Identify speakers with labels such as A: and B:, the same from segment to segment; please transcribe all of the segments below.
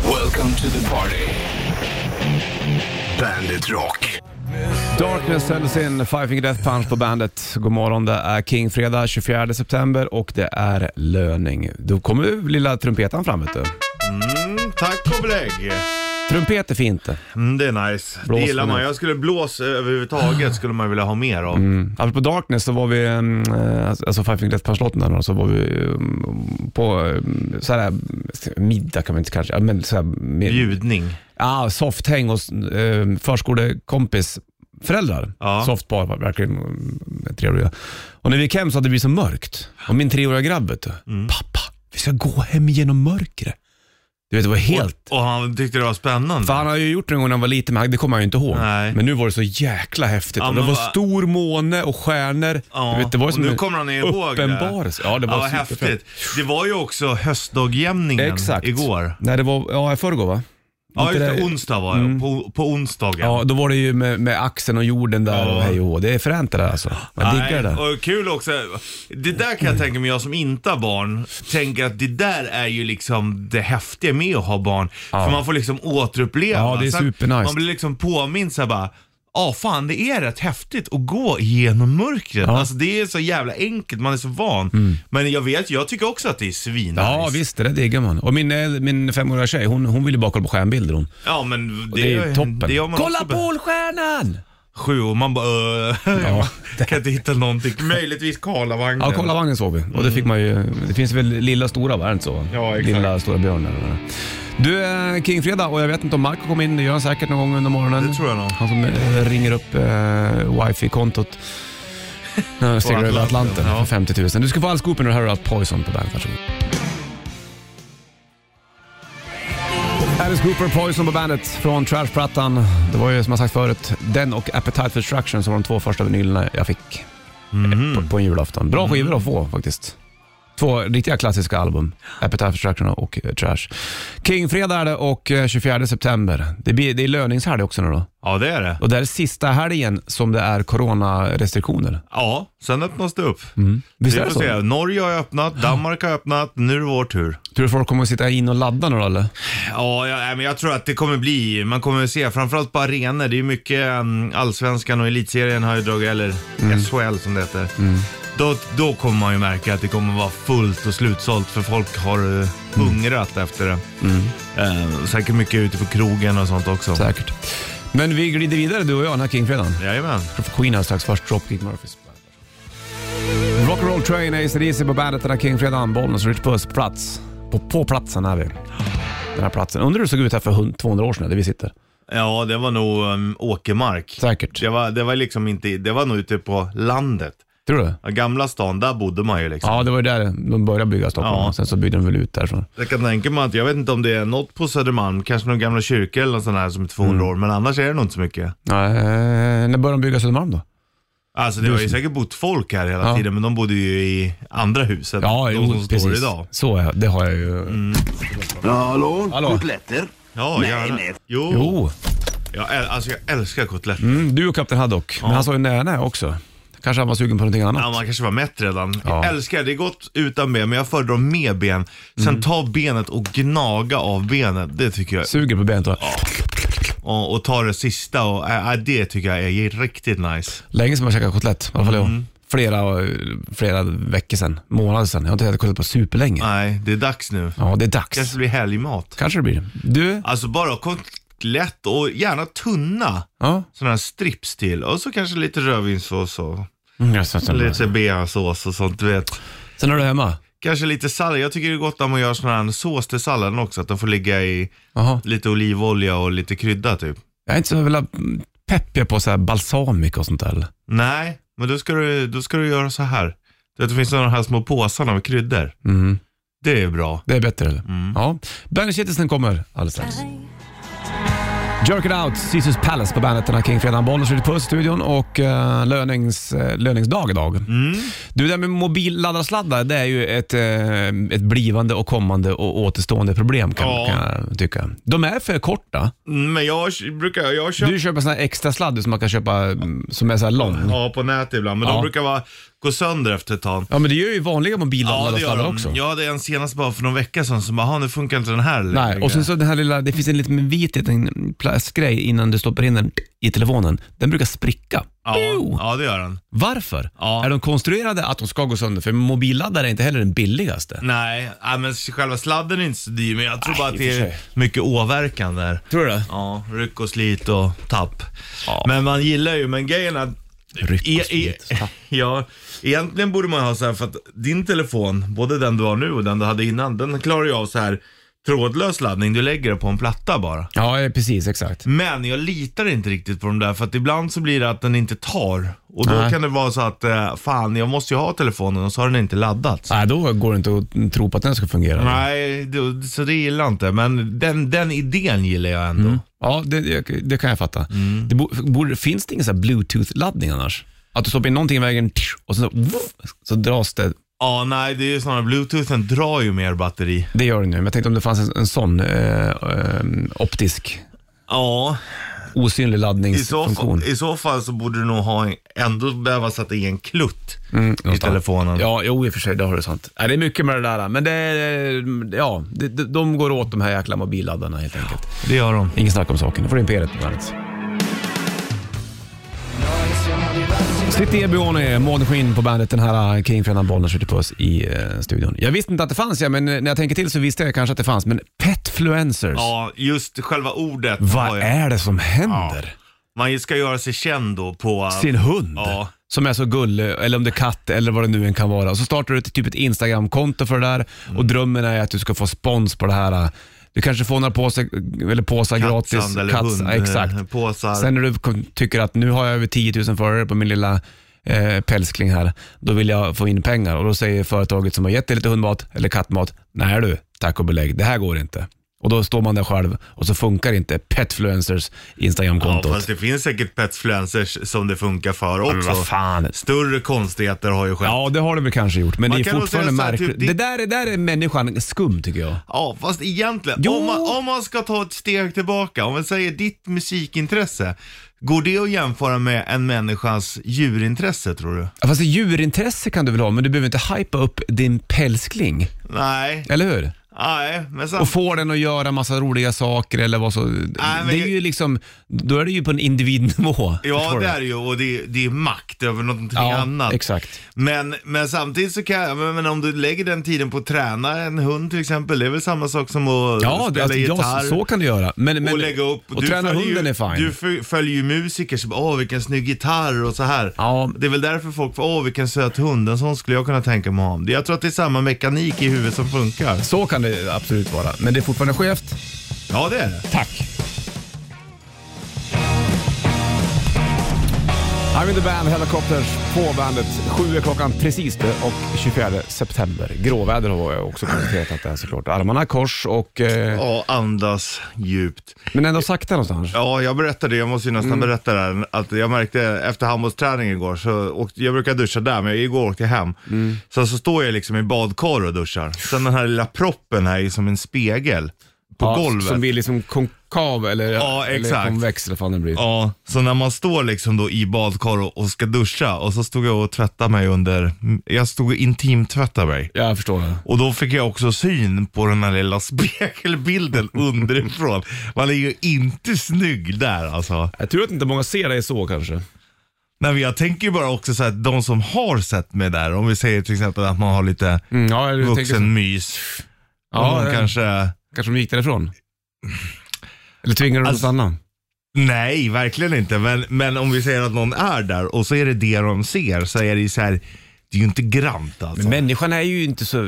A: Welcome to the party. Bandit Rock.
B: Darkness säljer sin Five Finger Death Punch på bandet. God morgon, det är King-fredag 24 september och det är löning. Då kommer ju lilla trumpetan fram vet du.
C: Mm, tack och belägg.
B: Trumpet är fint det.
C: Mm, det är nice.
B: Blås
C: det gillar
B: för
C: man.
B: mig.
C: Jag skulle blås överhuvudtaget skulle man vilja ha mer av.
B: Mm. Apropå Darkness så var vi, mm, eh, alltså Five Finger Death Punch-låten där, då, så var vi mm, på mm, så här, middag kan man inte kanske, ja, men så här, med,
C: Bjudning.
B: Ja, softhäng hos eh, förskolekompis föräldrar.
C: Ja.
B: Softpar var verkligen mm, trevliga. Och när vi gick hem så hade det blivit så mörkt. Och min treåriga grabb vet du,
C: Mm.
B: pappa, vi ska gå hem genom mörkret. Du vet, det var helt...
C: Och han tyckte det var spännande.
B: För han har ju gjort det en gång när han var liten, men det kommer han ju inte ihåg.
C: Nej.
B: Men nu var det så jäkla häftigt.
C: Ja,
B: och det
C: men
B: var
C: va-
B: stor måne och stjärnor.
C: Ja,
B: Du vet, det var ju
C: och
B: som
C: nu
B: en
C: kommer han ihåg
B: uppenbarelse.
C: det.
B: Ja, det var
C: vad
B: superfett.
C: häftigt. Det var ju också höstdagjämningen
B: Exakt.
C: igår.
B: Nej, det var, ja, i förrgår va?
C: Ja,
B: Inte
C: just det.
B: det- Mm.
C: Onsdag var jag. På, på onsdagen.
B: Ja, då var det ju med, med axeln och jorden där
C: Ja.
B: och hej och hå. Det är fränt det där alltså. Man
C: Nej,
B: diggar det Mm. där.
C: och kul också. Det där kan jag tänka mig, jag som inte har barn, tänker att det där är ju liksom det häftiga med att ha barn. För man får liksom återuppleva.
B: Ja, det är
C: Sen
B: supernice.
C: Man blir liksom påmind såhär bara, ja fan det är rätt häftigt att gå genom mörkret. Alltså det är så jävla enkelt, man är så van. Men jag vet, jag tycker också att det är svinnice.
B: Mm. Ja visst, det där diggar man. Och min, eh, min femåriga tjej, hon, hon vill ju bara kolla på stjärnbilder hon.
C: Ja men det,
B: Det, är ju toppen.
C: Det gör man
B: kolla
C: också
B: på Polstjärnan!
C: Sju och man bara, "Öh."
B: Ja.
C: kan inte hitta någonting. Möjligtvis Karlavagnen.
B: Ja, Karlavagnen såg vi. Och det fick man ju. Det finns väl lilla stora, va? Är det inte så?
C: Ja, exakt.
B: Lilla stora björnen. eller vad det är. Du, eh, Kingfredag och jag vet inte om Marco kom in. Det gör han säkert någon gång under morgonen.
C: Det tror jag nog.
B: Han som eh, ringer upp eh, wifi-kontot. När han seglar över
C: Atlanten,
B: Atlanten
C: ja.
B: för 50 000. Du ska få all scoopen och höra allt Poison på bandet. Varsågod. Alice Cooper Poison på bandet från Trash-plattan. Det var ju som jag sagt förut, den och Appetite for Destruction som var de två första vinylerna jag fick
C: Mhm.
B: på, på en julafton. Bra skivor att få faktiskt. Två riktiga klassiska album, Appetite for Destruction och eh, Trash. Kingfredag är det och eh, 24 september. Det, blir, det är löningshelg också nu då.
C: Ja det är det.
B: Och det är sista helgen som det är coronarestriktioner.
C: Ja, sen öppnas det upp.
B: Mm. Visst är
C: Mm. Vi
B: det
C: får
B: så?
C: se.
B: Tror
C: Norge har öppnat, Danmark har öppnat, nu är det vår tur.
B: du folk kommer att sitta in och ladda nu då eller?
C: Ja, jag, nej, men jag tror att det kommer bli, man kommer se, framförallt på arenor. Det är ju mycket mm, allsvenskan och elitserien har ju dragit, eller
B: Mm.
C: SHL som det heter. Då, då kommer man ju märka att det kommer vara fullt och slutsålt för folk har
B: Mm.
C: eh, hungrat efter det. Eh, säkert mycket ute på krogen och sånt också.
B: Säkert. Men vi glider vidare du och jag den här Kingfredagen.
C: Jajamän.
B: Tror för Queen här strax, först Dropkick Murphys. Rock'n'roll Train, ACDC på bandet den här Kingfredagen. Bollnäs Rich Puss plats. På, på platsen är vi. Den här platsen. Undrar hur det såg ut här för hund- 200 år sedan där vi sitter.
C: Ja, det var nog um, åkermark.
B: Säkert.
C: Det var, det var liksom inte, det var nog ute på landet.
B: Tror du?
C: Ja, Gamla stan, där bodde man ju liksom.
B: Ja, det var ju där de började bygga Stockholm.
C: Ja.
B: och Sen så byggde de väl ut därifrån.
C: Jag kan tänka mig att, jag vet inte om det är något på Södermalm, kanske någon gamla kyrka eller något sånt här som är 200
B: Mm.
C: år, men annars är det nog inte så mycket.
B: Nej, när började de bygga Södermalm då?
C: Alltså det har ju säkert bott folk här hela
B: Ja.
C: tiden, men de bodde ju i andra huset.
B: Ja,
C: de
B: jo,
C: som
B: precis.
C: står idag. Mm.
B: Så är det har jag ju.
A: Hallå?
B: Hallå.
A: Kotletter?
C: Ja,
A: Nej,
C: gärna.
A: nej.
C: Jo,
B: Jo,
C: Jag, äl- alltså jag älskar kotletter.
B: mm, du och Kapten Haddock. Men han sa ju nej, nej också. Kanske han var sugen på någonting annat.
C: Ja, man kanske var mätt redan.
B: Ja.
C: Jag älskar, det är gott utan ben, men jag föredrar med ben. Sen
B: Mm.
C: ta benet och gnaga av benet, det tycker jag.
B: Suger på benet. och-
C: Och, och ta det sista, och, äh, äh, det tycker jag är riktigt nice.
B: Länge sedan man käkat kotlett. I alla fall
C: Mm.
B: jag. Flera, flera veckor sedan. Månader sedan. Jag har inte ätit kotlett på superlänge.
C: Nej, det är dags nu.
B: Ja, det är dags.
C: Kanske blir helgmat.
B: Kanske det blir. Du?
C: Alltså bara kotlett och gärna tunna
B: Ja.
C: sådana här strips till och så kanske lite rödvinssås och
B: Mm, jag syns inte.
C: lite beasås och sånt du vet.
B: Sen är du hemma?
C: Kanske lite sallad. Jag tycker det är gott när man gör sån här sås till salladen också. Att den får ligga i
B: Jaha.
C: lite olivolja och lite krydda typ.
B: Jag är inte så jävla pepp jag på så här balsamic och sånt där. eller?
C: Nej, men då ska du, då ska du göra så här. Du vet, det finns sådana här små påsarna med kryddor.
B: Mm.
C: Det är bra.
B: Det är bättre eller?
C: Mm.
B: Ja. Bandit Kittelsen kommer alldeles strax. Jerk It Out, Caesars Palace på bandet den här Kingfredagen. Bollnäs skjuter puss i studion och uh, lönings, eh, löningsdag idag.
C: Mm.
B: Du, det där med mobilladdarsladdar, det är ju ett, eh, ett blivande och kommande och återstående problem kan,
C: Ja.
B: kan jag tycka. De är för korta.
C: Mm, Men jag k- brukar, jag köper
B: Du köper sådana extra sladdar som man kan köpa mm, som är så här lång.
C: ja, på nätet ibland. Men
B: Ja.
C: de brukar vara går sönder efter ett tag.
B: Ja, men det gör ju vanliga
C: Ja,
B: mobilladdare
C: det gör
B: ja,
C: de.
B: också.
C: Ja, det är en senast bara för någon vecka sedan som bara, "Ha, nu funkar inte den här
B: Nej,
C: längre."
B: och sen så den här lilla, det finns en liten vit liten plastgrej innan du stoppar in den i telefonen. Den brukar spricka.
C: ja,
B: Pew!
C: ja, det gör den.
B: Varför?
C: Ja.
B: Är de konstruerade att de ska gå sönder? För mobilladdare är inte heller den billigaste.
C: Nej, ja, men själva sladden är inte så dyr, men jag tror
B: Nej,
C: bara
B: i
C: att
B: och
C: det
B: för
C: är
B: sig.
C: mycket åverkan där.
B: Tror du det?
C: Ja, ryck och slit och tapp.
B: Ja.
C: Men man gillar ju, men grejen är att
B: Ryck
C: E-
B: och sprit.
C: e- ja, egentligen borde man ha så här för att din telefon, både den du har nu och den du hade innan, den klarar ju av så här trådlös laddning. Du lägger det på en platta bara.
B: Ja, eh, precis. Exakt.
C: Men jag litar inte riktigt på de där för att ibland så blir det att den inte tar. Och då
B: Nej.
C: kan det vara så att, eh, fan jag måste ju ha telefonen och så har den inte laddats.
B: Nej, då går det inte att tro på att den ska fungera.
C: Nej, då- så det gillar jag inte. Men den, den idén gillar jag ändå.
B: Mm. Ja, det, det, det kan jag fatta. Det bo, borde, finns det ingen så här bluetooth-laddning annars? Att du stoppar in någonting i vägen tsch, och sen så, voff, så dras det.
C: Ja, nej det är ju snarare bluetoothen drar ju mer batteri.
B: Det gör det nu, men jag tänkte om det fanns en, en sån eh, eh, optisk
C: Ja,
B: osynlig
C: I så,
B: laddningsfunktion.
C: fall, I så fall så borde du nog ha en, ändå behöva sätta i en klutt i
B: någonstans.
C: telefonen.
B: Mm, Ja, jo i och för sig, det har du sant. Nej, det är mycket med det där, men det är, ja, det, de, de går åt de här jäkla mobilladdarna helt enkelt.
C: Det gör de.
B: Ingen snack om saken, nu får du Imperiet på bandet. City Ebione, månskinn på bandet den här eh, kringfredagen, Bollnäs skjuter puss i eh, studion. Jag visste inte att det fanns, ja, men eh, när jag tänker till så visste jag kanske att det fanns, men petfluencers,
C: Ja, just själva ordet. har
B: vad
C: jag-
B: är det som händer?
C: Man ska göra sig känd då på... eh,
B: Sin hund?
C: Ja.
B: som är så gullig, eller om det är katt eller vad det nu än kan vara. Och så startar du ett, typ ett Instagramkonto för det där
C: Mm.
B: och drömmen är att du ska få spons på det här. Du kanske får några påsar, eller påsar gratis.
C: Kattsand eller
B: Katts-
C: hund,
B: ja, Exakt.
C: eh, påsar.
B: Sen när du kom- tycker att nu har jag över 10 000 följare på min lilla eh, pälskling här, då vill jag få in pengar och då säger företaget som har gett dig lite hundmat eller kattmat, nej du, tack och belägg, det här går inte. Och då står man där själv och så funkar inte petfluencers
C: ja,
B: Instagramkontot.
C: fast det finns säkert petfluencers som det funkar för
B: men
C: också.
B: vad fan.
C: Större konstigheter har ju skett. Ja.
B: Ja, det har det väl kanske gjort, men
C: Man
B: det är
C: kan nog
B: fortfarande
C: säga så här,
B: märkligt.
C: typ, det-
B: det... där, det där är människan skum tycker jag.
C: fast egentligen,
B: Jo.
C: om man, om man ska ta ett steg tillbaka, om man säger ditt musikintresse, går det att jämföra med en människas djurintresse tror du?
B: Ja, Fast ett djurintresse kan du väl ha, men du behöver inte hypa upp din pälskling,
C: Nej,
B: eller hur?
C: nej, men sen...
B: Och få den att göra massa roliga saker eller vad så.
C: men
B: det är
C: jag-
B: ju liksom, då är det ju på en individnivå.
C: Ja,
B: förstår du?
C: det är det ju och det, det är makt över någonting
B: Ja,
C: annat.
B: exakt.
C: Men, men samtidigt så kan jag, men, men om du lägger den tiden på att träna en hund till exempel, det är väl samma sak som att
B: Ja, det,
C: spela
B: alltså,
C: gitarr.
B: ja, så kan du göra. Men, men,
C: och lägga upp.
B: och träna
C: följer
B: hunden
C: ju,
B: är fine.
C: Du fö- följer ju musiker som åh vilken snygg gitarr och så här.
B: Ja.
C: Det är väl därför folk får, åh vilken söt hund, en sån skulle jag kunna tänka mig ha. Jag tror att det är samma mekanik i huvudet som funkar.
B: Så kan det absolut vara, men det är fortfarande skevt.
C: Ja, det är det.
B: Tack. I'm in the band, Helicopters på bandet. Sju är klockan precis det och 24 september. Gråväder har jag också kommenterat att det är såklart. Armarna i kors och... Eh,
C: Ja, andas djupt.
B: men ändå sakta någonstans.
C: Ja, jag berättade, jag måste ju
B: Mm.
C: nästan berätta det här, att jag märkte efter handbollsträning igår, så åkte, jag brukar duscha där, men igår åkte jag hem.
B: Mm.
C: Sen så står jag liksom i badkar och duschar. Sen den här lilla proppen här är som en spegel på
B: Ja,
C: golvet.
B: Som blir liksom konkav eller,
C: Ja,
B: eller
C: exakt.
B: konvex eller vad fan det blir.
C: Ja, så när man står liksom då i badkar och, och ska duscha och så stod jag och tvättade mig under, jag stod och intimtvättade mig.
B: Jag förstår det.
C: Och då fick jag också syn på den här lilla spegelbilden underifrån. Man är ju inte snygg där alltså.
B: Jag tror att inte många ser dig så kanske.
C: Nej, men jag tänker ju bara också så här, de som har sett mig där, om vi säger till exempel att man har lite
B: Mm, ja, jag tänker så.
C: vuxenmys.
B: Ja,
C: Ja,
B: det-
C: kanske...
B: Kanske de gick därifrån. Eller tvingade du dem att
C: Alltså-
B: stanna?
C: Nej, verkligen inte. Men, men om vi säger att någon är där och så är det det de ser, så är det ju så här, det är ju inte grant alltså.
B: Men människan är ju inte så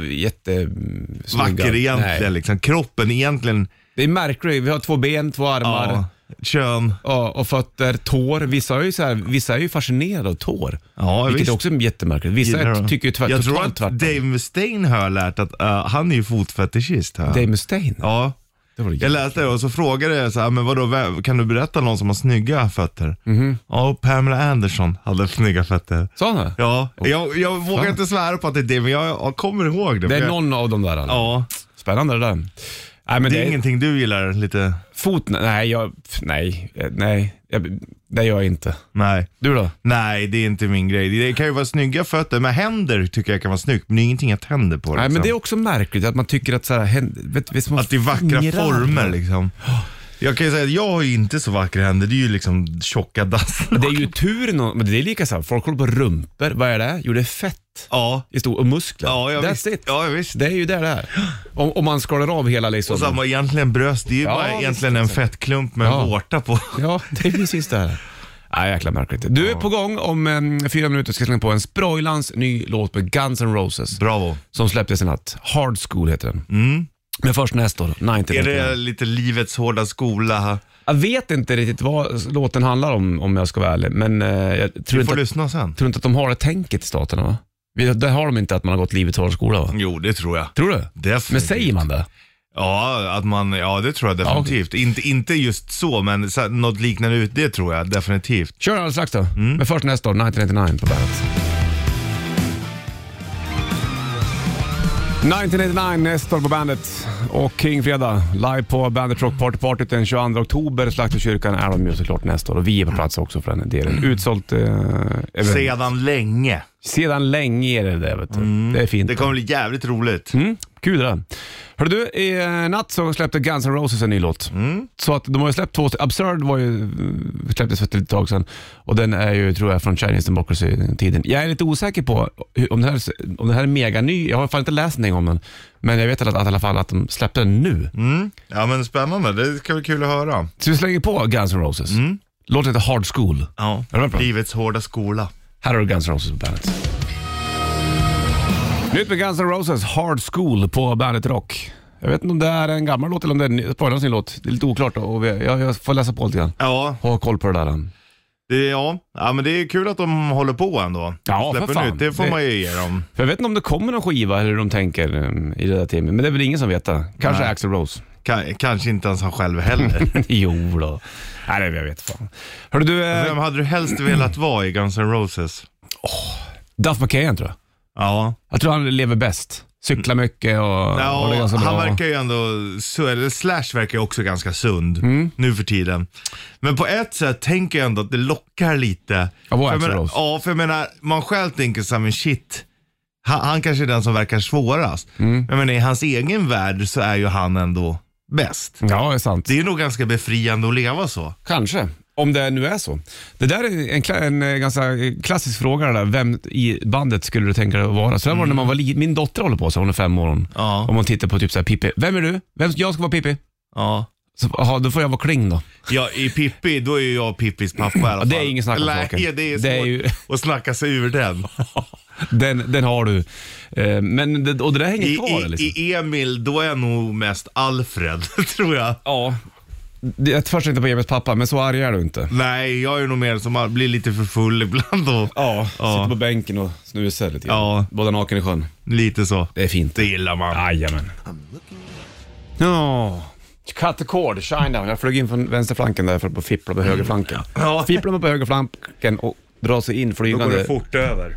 B: jättesnygg.
C: Vacker egentligen,
B: Nej.
C: liksom. kroppen egentligen,
B: Det är märkligt. Vi har två ben, två armar
C: ja, kön.
B: ja, och fötter, tår. Vissa är, ju så här, vissa är ju fascinerade av tår.
C: Ja,
B: vilket
C: visst.
B: är också jättemärkligt. Vissa
C: Gillar
B: är,
C: de.
B: tycker ju tvärt,
C: Jag tror
B: totalt
C: att
B: tvärtom.
C: Dave Mustaine har jag lärt att eh, han är ju fotfetischist. Här.
B: Dave Mustaine?
C: Ja.
B: Det var det
C: Jag läste det och så frågade jag så här, men vadå, vem- kan du berätta någon som har snygga fötter?
B: Mhm.
C: Ja, Pamela Anderson hade snygga fötter.
B: Sa han det?
C: Ja, jag, jag vågar
B: fan.
C: inte svära på att det är det, men jag, jag kommer ihåg det.
B: Det
C: för
B: är
C: jag,
B: någon av dem där. Alltså.
C: Ja,
B: Spännande det där. Nej, men
C: Det är
B: det-
C: ingenting du gillar lite?
B: Fot, nej, jag, nej, eh, nej, jag, det gör jag inte.
C: Nej.
B: Du då?
C: Nej, det är inte min grej. Det kan ju vara snygga fötter, men händer tycker jag kan vara snyggt. Men det är ingenting jag tänder på.
B: Nej, men det är
C: liksom.
B: också märkligt att man tycker att så här, hän- vet, vet, små
C: Att det är vackra
B: fingrar.
C: former liksom. Jag kan ju säga att jag har ju inte så vackra händer. Det är ju liksom tjocka dass.
B: Det är ju tur, nå- men det är lika så här, folk håller på och rumpor. Vad är det? Jo, det är fett
C: Ja,
B: i stor, och muskler.
C: ja, jag
B: That's
C: visst.
B: it.
C: Ja, jag visst.
B: Det är ju det det är. Om, om man skalar av hela liksom.
C: Och samma egentligen bröst. Det är ju
B: Ja,
C: bara
B: visst,
C: egentligen en fettklump med
B: Ja.
C: en vårta på.
B: Ja, det är precis det här. Nej, jäkla märkligt. Du är på gång. Om em, fyra minuter ska jag slänga på en Sproilans ny låt med Guns N' Roses
C: Bravo.
B: som släpptes i natt. Hard School heter den. Men först nästa år, 90
C: Mm. Är det lite livets hårda skola?
B: Jag vet inte riktigt vad låten handlar om om jag ska vara ärlig, men eh, jag tror
C: Vi får
B: inte, att,
C: lyssna sen.
B: tror inte att de har det tänket i staterna va? Vi- Det har de inte att man har gått livets hårda skola va?
C: Jo, det tror jag.
B: Tror du?
C: Definitivt.
B: Men säger man det?
C: Ja, att man, ja, det tror jag definitivt. inte, inte just så, men så, något liknande ut, det tror jag definitivt.
B: Kör alldeles strax då.
C: Mm.
B: Men först nästa år, 1999 på bandet. 1999, nästa år på bandet. Och King Fredag, live på Bandet Rock Party Party den 22 oktober. Slakterkyrkan är de ju såklart nästa år och vi är på plats också för den delen. Utsålt eh, event.
C: Mm. Sedan länge.
B: Sedan länge är det det, vet du. Det är fint.
C: Mm. Det kommer bli jävligt roligt.
B: Mm, kul det där. Hörru du, i eh, natt så släppte Guns N' Roses en ny låt. Så att de har ju släppt två, Absurd var ju, eh, släpptes för ett litet tag sedan och den är ju, tror jag, från Chinese Democracy-tiden. Jag är lite osäker på hur- om den här, om den här är mega ny. jag har fan inte läst någonting om den, men jag vet att, att, i alla fall att de släppte den nu.
C: Mm. Ja, men spännande. Det ska bli kul att höra.
B: Så vi slänger på Guns N' Roses. Låten heter Hard School.
C: Ja.
B: Är det bra?
C: Livets hårda skola.
B: Här har du Guns N' Roses på bandet. Nytt med Guns N' Roses, Hard School på bandet Rock. Jag vet inte om det är en gammal låt eller om det är Spoilerns ny låt. Det är lite oklart och vi- jag, jag får läsa på lite grann.
C: Ja,
B: Ha koll på det där.
C: det, ja. ja, men det är kul att de håller på ändå.
B: Ja, för
C: Släpper
B: fan.
C: nytt, det får
B: Det-
C: man ju ge dem.
B: För jag vet inte om det kommer någon skiva eller hur de tänker eh, i det där teamet, men det är väl ingen som vet det. Kanske
C: Nej.
B: Axl Rose.
C: Ka- kanske inte ens han själv heller.
B: jo då. Nej, det jag vet fan. Hörru du, eh,
C: Vem hade du helst velat vara i Guns N' Roses?
B: Duff McKagan tror jag.
C: Ja,
B: Jag tror han lever bäst. Cyklar mycket och och det är
C: ja
B: ganska
C: han
B: bra.
C: verkar ju ändå, su- eller Slash verkar ju också ganska sund
B: Mm.
C: nu för tiden. Men på ett sätt tänker jag ändå att det lockar lite.
B: Ja, vår
C: för jag
B: Axl
C: menar,
B: Rose.
C: ja, för jag menar, man själv tänker såhär, men shit, han, han kanske är den som verkar svårast.
B: Mm.
C: Jag menar, i hans egen värld så är ju han ändå bäst.
B: Ja, det är sant.
C: Det är nog ganska befriande att leva så.
B: Kanske, om det nu är så. Det där är en, kla- en eh, ganska klassisk fråga, det där. vem i bandet skulle du tänka dig att vara? Så där var det när man var li- Min dotter håller på så, hon är fem år. Hon.
C: Ja.
B: Om man tittar på typ så här, Pippi, vem är du? Vem, jag ska vara Pippi.
C: Ja.
B: Så, aha, då får jag vara Kling då.
C: Ja, i Pippi, då är ju jag Pippis pappa i alla fall.
B: det är ingen snack om
C: Nej,
B: saken.
C: det är svårt
B: Det är ju-
C: att snacka sig ur den.
B: Den, den har du. Eh, men det, och det där hänger
C: I,
B: kvar
C: i,
B: liksom.
C: I Emil, då är jag nog mest Alfred, tror jag.
B: ja. Det- Jag först tänkte på Emils pappa, men så arg är du inte.
C: Nej, jag är nog mer som man blir lite för full ibland och
B: Ja,
C: Ja.
B: sitter på bänken och snusar lite grann.
C: Ja.
B: Båda naken i sjön.
C: lite så.
B: Det är fint.
C: Det gillar man.
B: Jajamän. Ja. Cut the cord, shine down. Jag flög in från vänsterflanken där för att fippla på högerflanken.
C: Ja.
B: Fipplar man på högerflanken och drar sig in
C: Då går
B: flygande
C: det fort över.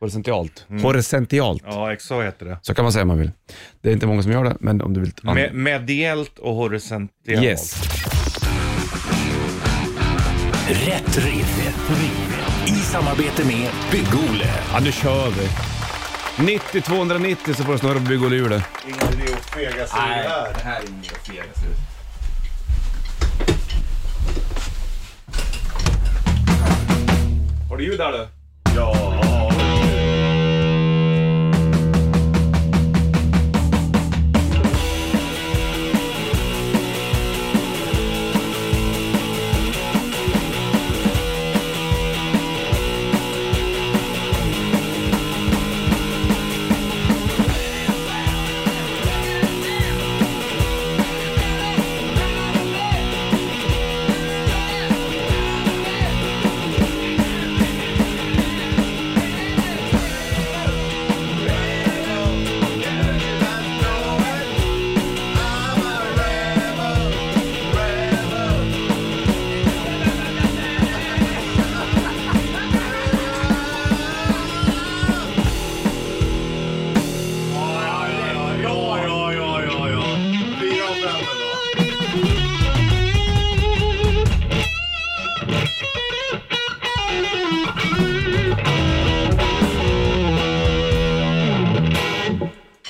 B: horisontalt. Horisontalt.
C: Ja, exakt så heter det.
B: Så kan man säga om man vill. Det är inte många som gör det, men om du vill...
C: Me- mediellt och horisontellt.
B: yes.
D: Rätt riff. I samarbete med Bygg-Ole.
B: Ja, nu kör vi. 90-290 så får du snurra på bygg och hjulet.
C: Ingen idé att fega sig ur här.
B: här är inget fel. Har du ljud där du?
C: Ja.
E: Yeah.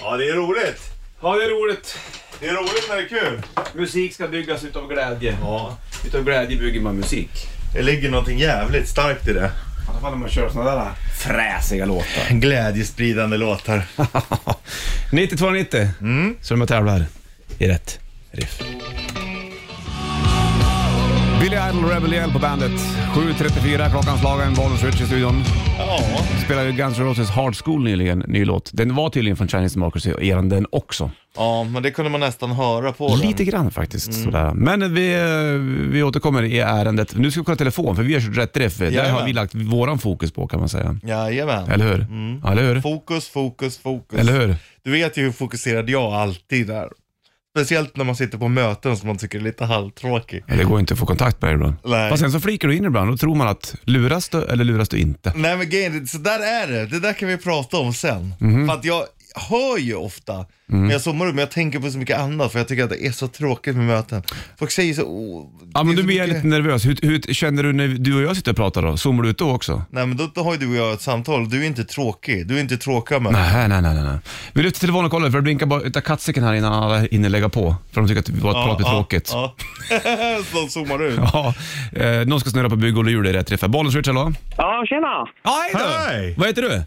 B: Ja, det är roligt.
C: Det är roligt när det är kul.
B: Musik ska byggas utav glädje. Utav glädje bygger man musik.
C: Det ligger någonting jävligt starkt i det.
B: I alla fall när man kör sådana där fräsiga låtar.
C: Glädjespridande låtar.
B: 9290. Mm. Så de tävlar i rätt riff. Billy Idol Rebel Yell på bandet. 7.34 klockan slagen, Bollnäs Rich i studion.
C: Ja.
B: Spelade ju Guns N' Roses Hard School nyligen, ny låt. Den var tydligen från Chinese Democracy, eran den också.
C: ja, men det kunde man nästan höra på Mm. den.
B: Lite grann faktiskt. Sådär. Men vi, eh, vi återkommer i ärendet. Nu ska vi kolla telefon, för vi har kört rätt riff. Där
C: Jajamän.
B: har vi lagt våran fokus på kan man säga.
C: Jajamän.
B: Eller hur? Ja, Eller hur?
C: Mm. Fokus, fokus, fokus.
B: Eller hur?
C: Du vet ju hur fokuserad jag alltid är. Speciellt när man sitter på möten som man tycker är lite halvtråkig.
B: Ja, Det går inte att få kontakt med dig ibland.
C: Nej.
B: Fast sen så flikar du in ibland och då tror man att luras du eller luras du inte?
C: Nej men grejen, är- så där är det. Det där kan vi prata om sen.
B: Mhm.
C: För att jag hör ju ofta när jag zoomar ut, men jag tänker på så mycket annat för jag tycker att det är så tråkigt med möten. Folk säger så... Oh,
B: Ja,
C: det är
B: men
C: så
B: du blir jag
C: mycket-
B: lite nervös. Hur, hur känner du när du och jag sitter och pratar då? Zoomar du ut då också?
C: Nej men då, då har ju du och jag ett samtal, du är inte tråkig. Du är inte tråkig med
B: Nej, nej, nej, nej, nej. Vi lyfter telefonen och kollar, för det blinkar bara utav kattsäcken här innan alla hinner lägga på. För de tycker att vårt prat är tråkigt. Ja,
C: Ja. så de zoomar ut.
B: eh, någon ska snurra på bygg och hjul i rätt träff. Bollens Richard, hallå?
E: Ja, tjena!
B: Ja, hej då!
C: Hej!
B: Vad heter du?
E: Hej!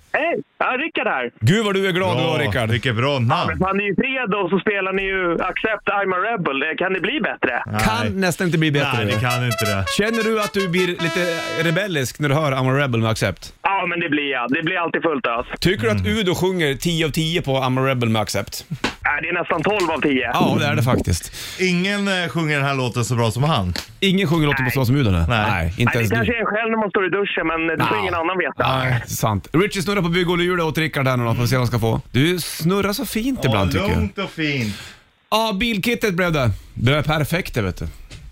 E: Ja, Rickard här.
B: Gud vad du är glad du var Rickard.
C: Vilket bra namn.
E: Han är ju fredag och så spelar ni ju Accept I'm a Rebel. Eh, Kan det bli bättre?
B: Kan nästan inte bli bättre.
C: Nej, det kan inte det.
B: Känner du att du blir lite rebellisk när du hör I'm a rebel med Accept?
E: Ja, men det blir jag. Det blir alltid fullt ös.
B: Tycker du att Udo sjunger 10 av 10 på I'm a rebel med Accept?
E: Nej, Det är nästan 12 av 10.
B: Ja, det är det faktiskt.
C: Ingen eh, sjunger den här låten så bra som han.
B: Ingen sjunger låten på så som Udo nu.
C: Nej.
B: inte
E: Nej,
B: ens du.
E: det kanske är en själv när man står i duschen, men det får
B: Ja.
E: ingen annan veta.
B: Nej, sant. Richie snurrar på bygg och hjul åt Rickard här nu då, får vi se vad han ska få. Du snurrar så fint ibland tycker jag.
C: Lugnt och fint.
B: Ja, bilkittet blev det. Det är perfekt det vet du.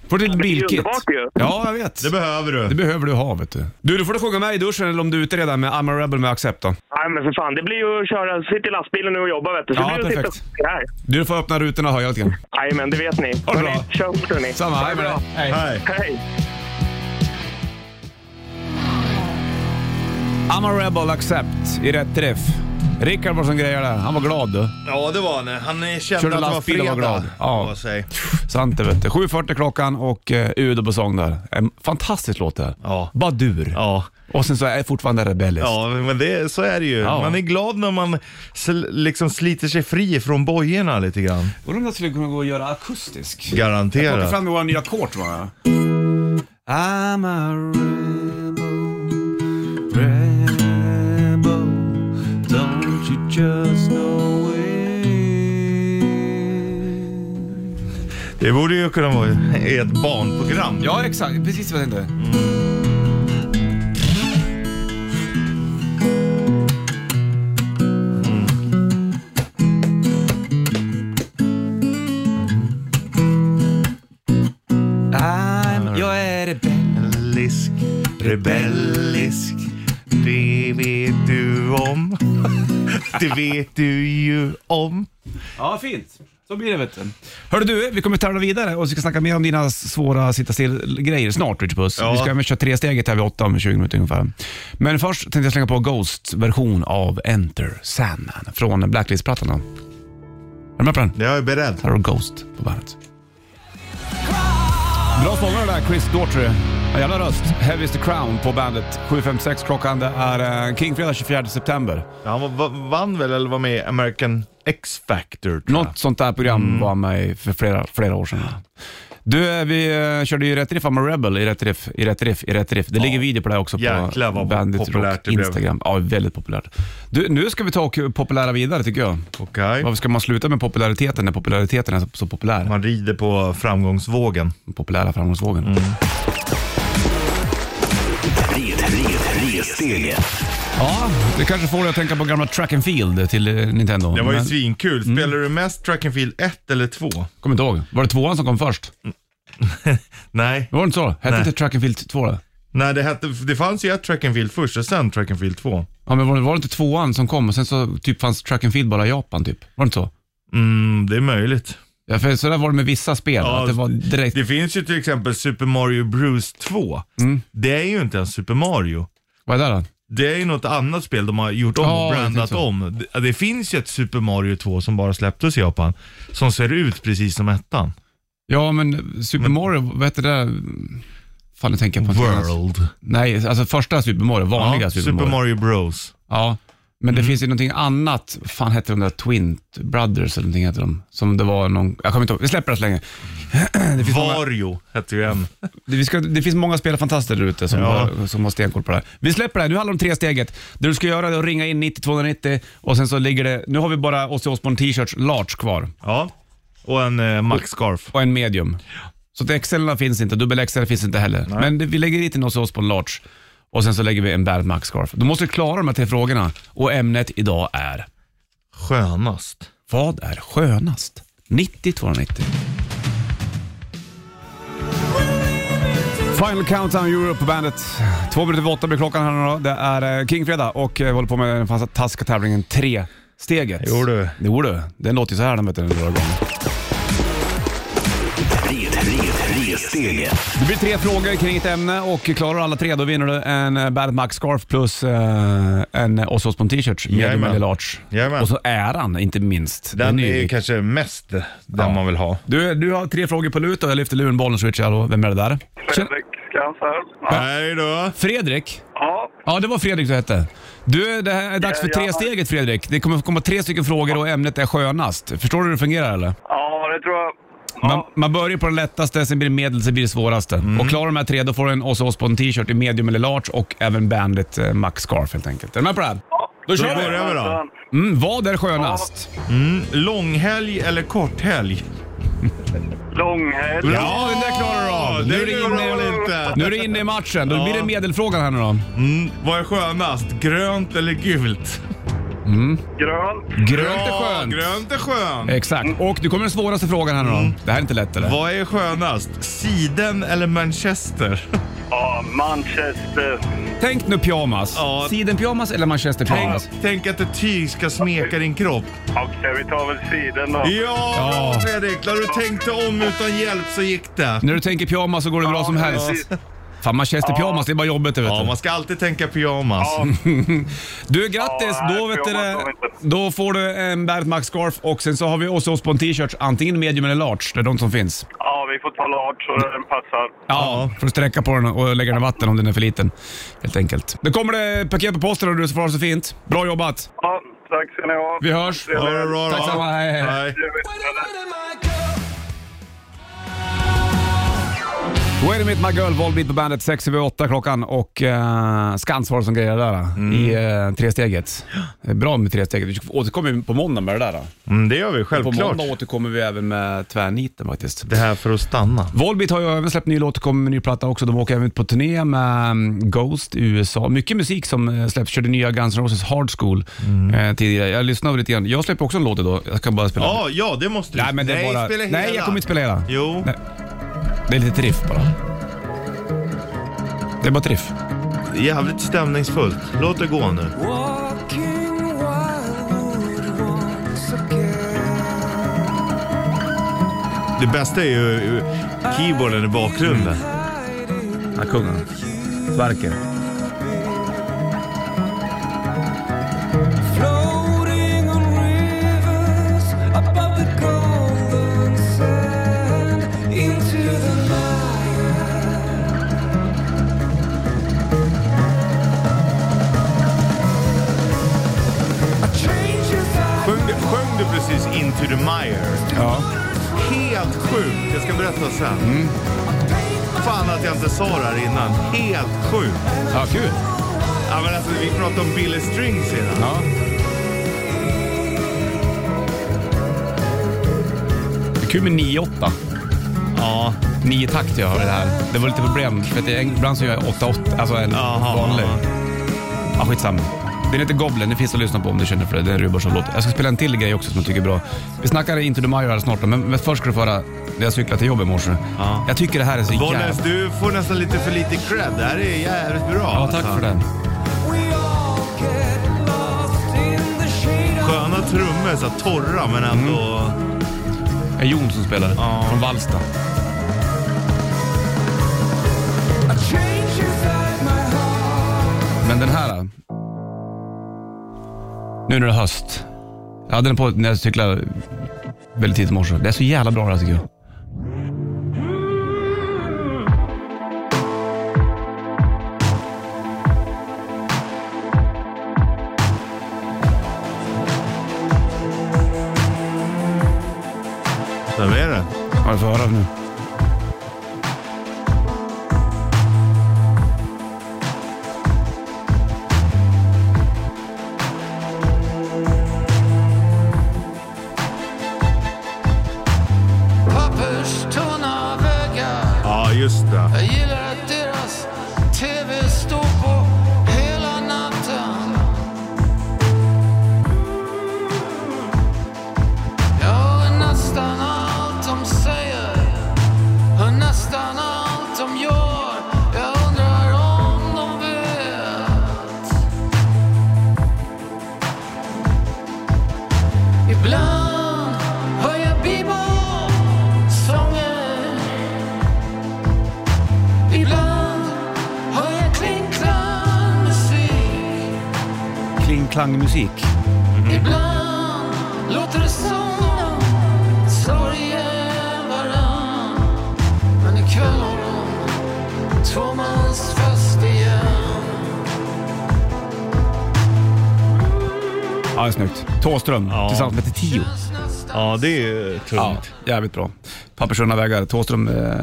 B: Får du ett
E: det är ju
B: bilkit?
E: underbart ju.
B: Ja, jag vet.
C: Det behöver
B: Det
C: du.
B: behöver du ha vet du. Du, du får du sjunga med i duschen eller om du är ute redan med I'm a rebel med Accept då.
E: Nej, men för fan. Det blir ju att köra. Sitt i lastbilen nu och jobba, vet du. Så
B: Ja,
E: blir det att
B: perfekt.
E: sitta och sitta här.
B: Du får öppna rutorna och höja lite grann.
E: Nej, men det vet ni.
B: det bra.
E: Hörni, Kör fort, hörni.
B: Samma,
E: Ha det
B: hej med
E: bra.
B: dig.
C: Hej.
E: Hej!
B: I'm a rebel accept i rätt träff. Rickard var som grejer där. Han var glad du.
C: Ja, det var han. Han eh, kände
B: Körde
C: att det var
B: lastbil och
C: fredag.
B: var glad. Ja.
C: på sig.
B: Sant det vet du. 7.40 klockan och eh, Udo på sång där. En fantastisk låt det här.
C: Ja.
B: Badur.
C: ja.
B: Och sen så är jag fortfarande rebellisk.
C: ja men det, så är det ju.
B: Ja.
C: Man är glad när man sl- liksom sliter sig fri från bojorna lite grann.
B: Undrar om jag skulle kunna gå och göra akustisk. Jag plockar
C: Garanterat.
B: fram våra nya ackord tror jag. I'm a rebel, rebel, don't you just know it.
C: Det borde ju kunna vara i ett barnprogram.
B: Ja, exakt. Precis vad jag tänkte. Mm. I'm, jag är rebell.
C: Rebellisk, rebellisk, det vet du om. Det vet du ju om.
B: Ja, fint. Så blir det vet du. Hörru du, vi kommer tävla vidare och vi ska snacka mer om dina svåra sitta still-grejer snart Richard Puss.
C: Ja.
B: Vi ska även köra tre steget här vid åtta om 20 minuter ungefär. Men först tänkte jag slänga på Ghosts version av Enter Sandman från Blacklist-plattan. då. Är du med på den?
C: Jag är beredd.
B: Här har du Ghost på bandet. Bra sångare där, Chris Daughtry. En jävla röst. Heavy is the crown på bandet. 7.56 klockan. Det är eh, Kingfredag 24 september.
C: Han var- va- vann väl eller var med i American X-Factor tror jag.
B: Något sånt där program
C: Mm.
B: var med i för flera, flera år sedan. Du, eh, vi eh, körde ju Rätt Riff I'm a Rebel i Rätt Riff, i Rätt Riff, i Rätt Riff. Det ligger video på det här också
C: Jäklar
B: på
C: vad
B: Bandit
C: populärt
B: Rock
C: det blev.
B: Instagram. Ja, väldigt populärt. Du, nu ska vi ta och populära vidare tycker jag.
C: Okej.
B: Varför ska man sluta med populariteten när populariteten är så, så populär?
C: Man rider på framgångsvågen.
B: Den Populära framgångsvågen.
C: Mm.
D: Red, red, ressteget.
B: Ja, det kanske får dig att tänka på gamla Track and Field till eh, Nintendo.
C: Det var ju
B: Men-
C: svinkul. Spelade du mest Track and Field 1 eller 2?
B: Kommer inte ihåg. Var det tvåan som kom först?
C: Nej.
B: Var det inte så? Hette
C: Mm. Nej.
B: inte Track and Field 2 då?
C: Nej, det, hette, det fanns ju ett Track and Field först och sen Track and Field 2.
B: Ja, men var det, var det inte tvåan som kom och sen så typ fanns Track and Field bara i Japan typ? Var det inte så?
C: Mm, det är möjligt.
B: Ja, för sådär var det med vissa spel.
C: Ja,
B: att det var direkt...
C: Det finns ju till Mm. exempel Super Mario Bros 2. Det är ju inte ens Super Mario.
B: Vad är det då?
C: det är ju något annat spel de har gjort om
B: Ja, jag
C: och brandat
B: tänkte så.
C: om. Det, det finns ju ett Super Mario 2 som bara släpptes i Japan, som ser ut precis som ettan.
B: Ja, men Super Mario, vad hette det där? Fan, nu tänker jag på något annat.
C: World.
B: Nej, alltså första Super Mario, vanliga
C: Ja,
B: Super Mario.
C: Super Mario Mm. Bros.
B: Ja, men det finns ju någonting annat. Vad fan hette de där Twin Brothers eller någonting hette de? Som det var någon, jag kommer inte ihåg, vi släpper det så länge.
C: Vario hette ju en.
B: Det, vi ska, det finns många spelarfantaster där ute som,
C: Ja.
B: har, som har stenkoll på det här. Vi släpper det här. Nu handlar det om tre steget. Det du ska göra är att ringa in 90-290 och sen så ligger det, nu har vi bara Ozzy Osbourne t-shirts large kvar
C: Ja. Och en eh, Max Scarf.
B: och en medium. Så att XL finns inte, dubbel XL finns inte heller. Men det, vi lägger dit en Ozzy Osbourne large och sen så lägger vi en Bad Max scarf. Du måste klara de här tre frågorna och ämnet idag är
C: Skönast.
B: Vad är skönast? 90-290. Final Countdown Europe på bandet. Två minuter över åtta blir klockan här nu då. Det är eh, Kingfredag och eh, vi håller på med den fantastiska tävlingen tre steget.
C: Jo du.
B: Jo du. Den låter ju så här den vet du när den drar igång.
D: Tre, tre, tre steget.
B: Det blir tre frågor kring ett ämne och klarar du alla tre då vinner du en eh, Bandet Max Scarf plus eh, en Ozzy Osbourne t-shirt. Medium
C: Jajamän.
B: eller large.
C: Jajamän.
B: Och så äran inte minst.
C: Den
B: ju
C: är ju
B: viktig.
C: kanske mest den man vill ha.
B: Du, du har tre frågor på lut och jag lyfter luren, bollen, switchar. Hallå, vem är det där? Tjena.
E: Fredrik Skans här.
C: Hej då.
B: Fredrik?
E: Ja,
B: Ja, det var Fredrik du hette. Du, det här är dags för
E: Ja, ja.
B: tre steget Fredrik. Det kommer komma tre stycken frågor och ämnet är skönast. Förstår du hur det fungerar eller?
E: ja, det tror jag.
B: Man,
E: Ja,
B: man börjar på den lättaste, sen blir det medel, sen blir det svåraste.
C: Mm.
B: Och klarar de här tre, då får du en Ozzy Osbourne t-shirt i medium eller large och även Bandit eh, Max Scarf helt enkelt. Är du med på det här? Då
C: Då
B: kör vi!
C: börjar vi då.
B: Mm, vad är skönast?
C: Långhelg eller korthelg?
E: Långhelg.
C: Ja, den där klarar du av.
B: Nu
C: Nu
B: är
C: är
B: det
C: du
B: inne-
C: inne inte.
B: Nu är du inne i matchen, då blir det medelfrågan här nu då.
C: Mm, vad är skönast? Grönt eller gult?
E: Grönt.
B: Grönt är
C: Ja,
B: skönt.
C: Grönt är skönt.
B: Exakt. Och nu kommer den svåraste frågan här nu
E: Mm.
B: då. Det här är inte lätt eller?
C: Vad är skönast? Siden eller Manchester?
E: Ja, Manchester.
B: Tänk nu pyjamas.
C: Ja.
B: Sidenpyjamas eller manchester pyjamas?
C: Tänk, tänk att ett tyg ska smeka din kropp.
E: Okej, vi tar väl sidan då.
C: Ja,
B: Ja.
C: bra Fredrik! När du tänkte om utan hjälp så gick det.
B: När du tänker pyjamas så går det bra som helst.
E: precis.
B: Fan, manchester pyjamas, det är bara jobbet det vet
C: Ja,
B: du.
C: man ska alltid tänka pyjamas.
E: Ja.
B: Du, grattis!
E: Ja,
B: då,
E: nej,
B: vet du,
E: pyjamas
B: det-
E: går inte.
B: då får du en Bert Max scarf och sen så har vi också oss på en t-shirt, antingen medium eller large. Det är de som finns. Ja,
E: Ja, vi får ta large så den passar.
B: Får du sträcka på den och lägga den i vatten om den är för liten. Helt enkelt. Nu kommer det paket på posten och du får ha det så fint. Bra jobbat!
E: Ja, tack ska ni ha.
B: Vi hörs!
C: Ha det bra då.
B: Tack samma, hej, hej. Wait a minute my girl, Volbeat på bandet 6 över 8 klockan och uh, Skans var det som grejade där eh,
C: Mm.
B: i uh, tresteget. Det är Bra med tresteget. Vi återkommer ju på måndag med det där. eh.
C: Mm, det gör vi,
B: På
C: självklart.
B: måndag återkommer vi även med tvärniten faktiskt.
C: Det här för att stanna.
B: Volbeat har ju även släppt ny låt och kommer med ny platta också. De åker även ut på turné med mm, Ghost i USA. Mycket musik som eh, släpps. Körde nya Guns N' Roses Hard School eh, tidigare. Jag lyssnade lite grann. Jag släpper också en låt idag. Jag kan bara spela.
C: Mm. Ja, ja, det måste du.
B: Nej, men det är bara-
C: spela hela.
B: Nej, jag kommer inte spela hela.
C: Jo.
B: Nej. Det är lite triff bara. Det är bara triff.
C: Jävligt stämningsfullt. Låt det gå nu.
F: Walking wildwood once again.
C: Det bästa är ju eh, keyboarden i bakgrunden.
F: Hiding
B: Ja, kungen. Sverker.
F: Floating on rivers above the golden sand into the night. I change your thought.
C: Sjöng, du- sjöng du precis Into the Mire?
B: Ja. Mm.
C: Helt sjukt! Jag ska berätta sen. Fan att jag inte sa det här innan. Helt sjukt!
B: Ja, kul.
C: Ja, men alltså, vi pratade om Billy Strings innan.
B: Ja. Det är kul med 9-8.
C: Ja.
B: Nio takt jag har i det här. Det var lite problem. För att jag, ibland så gör jag 8-8, alltså en
C: Aha.
B: vanlig. Ja, skitsamma. Den heter Goblin, den finns att lyssna på om du känner för det. Det är en Rubarsson-låt. Jag ska spela en till grej också som jag tycker är bra. Vi snackar Into the Mire här snart, men, men först ska du få höra när jag cyklade till jobbet i morse.
C: Ja.
B: Jag tycker det här är så jävla...
C: Bollnäs, du får nästan lite för lite cred. Det här är jävligt bra.
B: Ja, tack
C: alltså.
B: för den.
F: We all get lost in the shade of
C: Sköna trummor, så här torra men
B: Mm.
C: ändå...
B: Det är Jon som spelar,
C: Ja.
B: från Vallsta.
F: a change inside my heart.
B: Men den här, Nu när det är höst. Jag hade den på när jag cyklade väldigt tidigt i morse. Det är så jävla bra det här tycker jag.
C: Så är det.
B: Ja, du får höra nu.
G: Pappers tunna väggar.
C: Ja, just det.
G: Jag gillar att deras TV står på hela natten. Jag hör nästan allt de säger. Hör nästan allt de gör. Jag undrar om de vet. Ibland hör jag bebop-sånger. Ibland hör jag klingklang musik.
B: Klingklangmusik.
G: Ibland låter det som de slår ihjäl varann. Men ikväll har de tvåmansfest igen.
B: Ja, det är snyggt. Thåström
C: Ja.
B: tillsammans med Tio.
C: Ja, det är ju
B: Ja,
C: tungt.
B: jävligt bra. Pappersunna vägar. Thåström eh,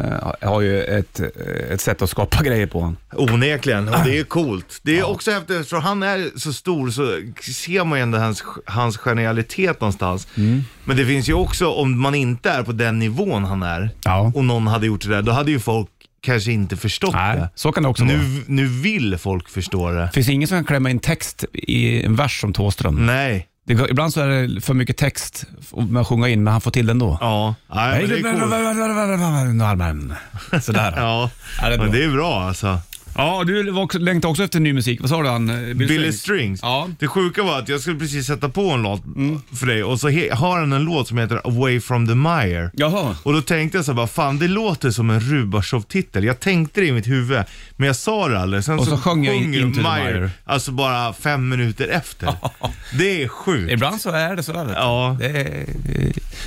B: har ju ett, eh, ett sätt att skapa grejer på han.
C: Onekligen, och det är coolt. Det är också häftigt eftersom han är så stor så ser man ju ändå hans, hans genialitet någonstans.
B: Mm.
C: Men det finns ju också, om man inte är på den nivån han är
B: Ja.
C: och någon hade gjort det där, då hade ju folk kanske inte förstått
B: Nej,
C: det.
B: så kan det också vara.
C: Nu, nu vill folk förstå det.
B: Finns det ingen som kan klämma in text i en vers som Thåström?
C: Nej.
B: Det går- Ibland så är det för mycket text man sjunga in, men han får till den då.
C: Ja. Nej, men det är coolt.
B: Cool. Sådär.
C: Ja,
B: Ja, det är bra.
C: men det är bra alltså.
B: ja, du var också, längtade också efter ny musik. Vad sa du han? Billy,
C: Billy
B: Strings?
C: Strings.
B: Ja. Mm.
C: Det sjuka var att jag skulle precis sätta på en låt för dig och så he- har han en låt som heter Away from the Mire.
B: Jaha.
C: Och då tänkte jag så här, bara, fan det låter som en Rubashov-titel. Jag tänkte det i mitt huvud, men jag sa det aldrig. Sen
B: Och så sjöng jag in-
C: sjunger
B: Into the
C: Meyer,
B: Mire.
C: Alltså bara fem minuter efter. det är sjukt.
B: Ibland så är det så. Är det.
C: Ja.
B: Det, är,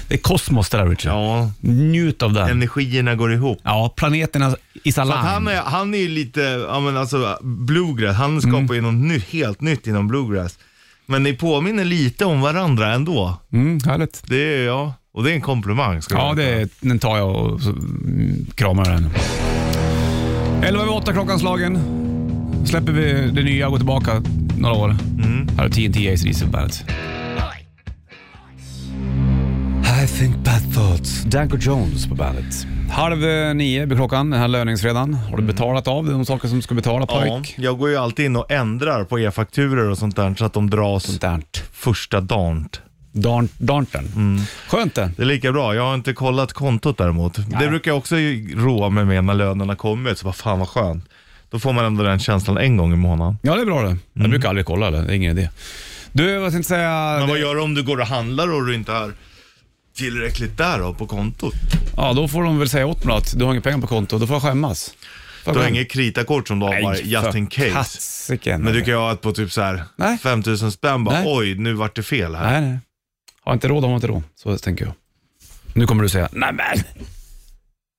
B: det är kosmos det där Richard.
C: Ja,
B: Njut av den.
C: energierna går ihop.
B: Ja, planeterna i
C: Så att han,
B: salam.
C: är, han är ju lite, ja men alltså bluegrass, han skapar ju något ny, helt nytt inom bluegrass. Men ni påminner lite om varandra ändå.
B: Mm, härligt.
C: Det är ja, och det är en komplimang ska
B: Ja,
C: du
B: det
C: veta.
B: är, den tar jag och så, mm, kramar den. 11 över 8 klockan slagen. Släpper vi det nya och går tillbaka några år.
C: Mm.
B: Här är TNT Ace Diesel Bandet. I think bad thoughts. Danko Jones på bandet. Halv eh, nio blir klockan den här löningsfredagen. Har du betalat av de saker som ska betala
C: Ja,
B: pojk?
C: jag går ju alltid in och ändrar på e-fakturor och sånt där så att de dras
B: Darnt.
C: första dagen.
B: Darnt. Darnten.
C: Mm.
B: Skönt det.
C: Det är lika bra, jag har inte kollat kontot däremot. Det brukar jag också roa mig med när lönerna kommer, så vad fan vad skönt. Då får man ändå den känslan en gång i månaden.
B: Ja, det är bra det.
C: Mm.
B: Jag brukar aldrig kolla det. Det är ingen idé. Du, vad tänkte säga?
C: Men vad gör du om du går och handlar och du inte har tillräckligt där då på kontot?
B: Ja, då får de väl säga åt mig att du har inga pengar på kontot. Då får jag skämmas. Får
C: Du har
B: jag
C: inget kritakort som du har bara just in case.
B: Katsiken.
C: Men du kan ju ha ett på typ så här
B: Nej.
C: 5000 spänn bara,
B: Nej.
C: oj nu vart det fel här.
B: Nej, nej. Har inte råd har man inte råd. Så tänker jag. Nu kommer du säga, nej men.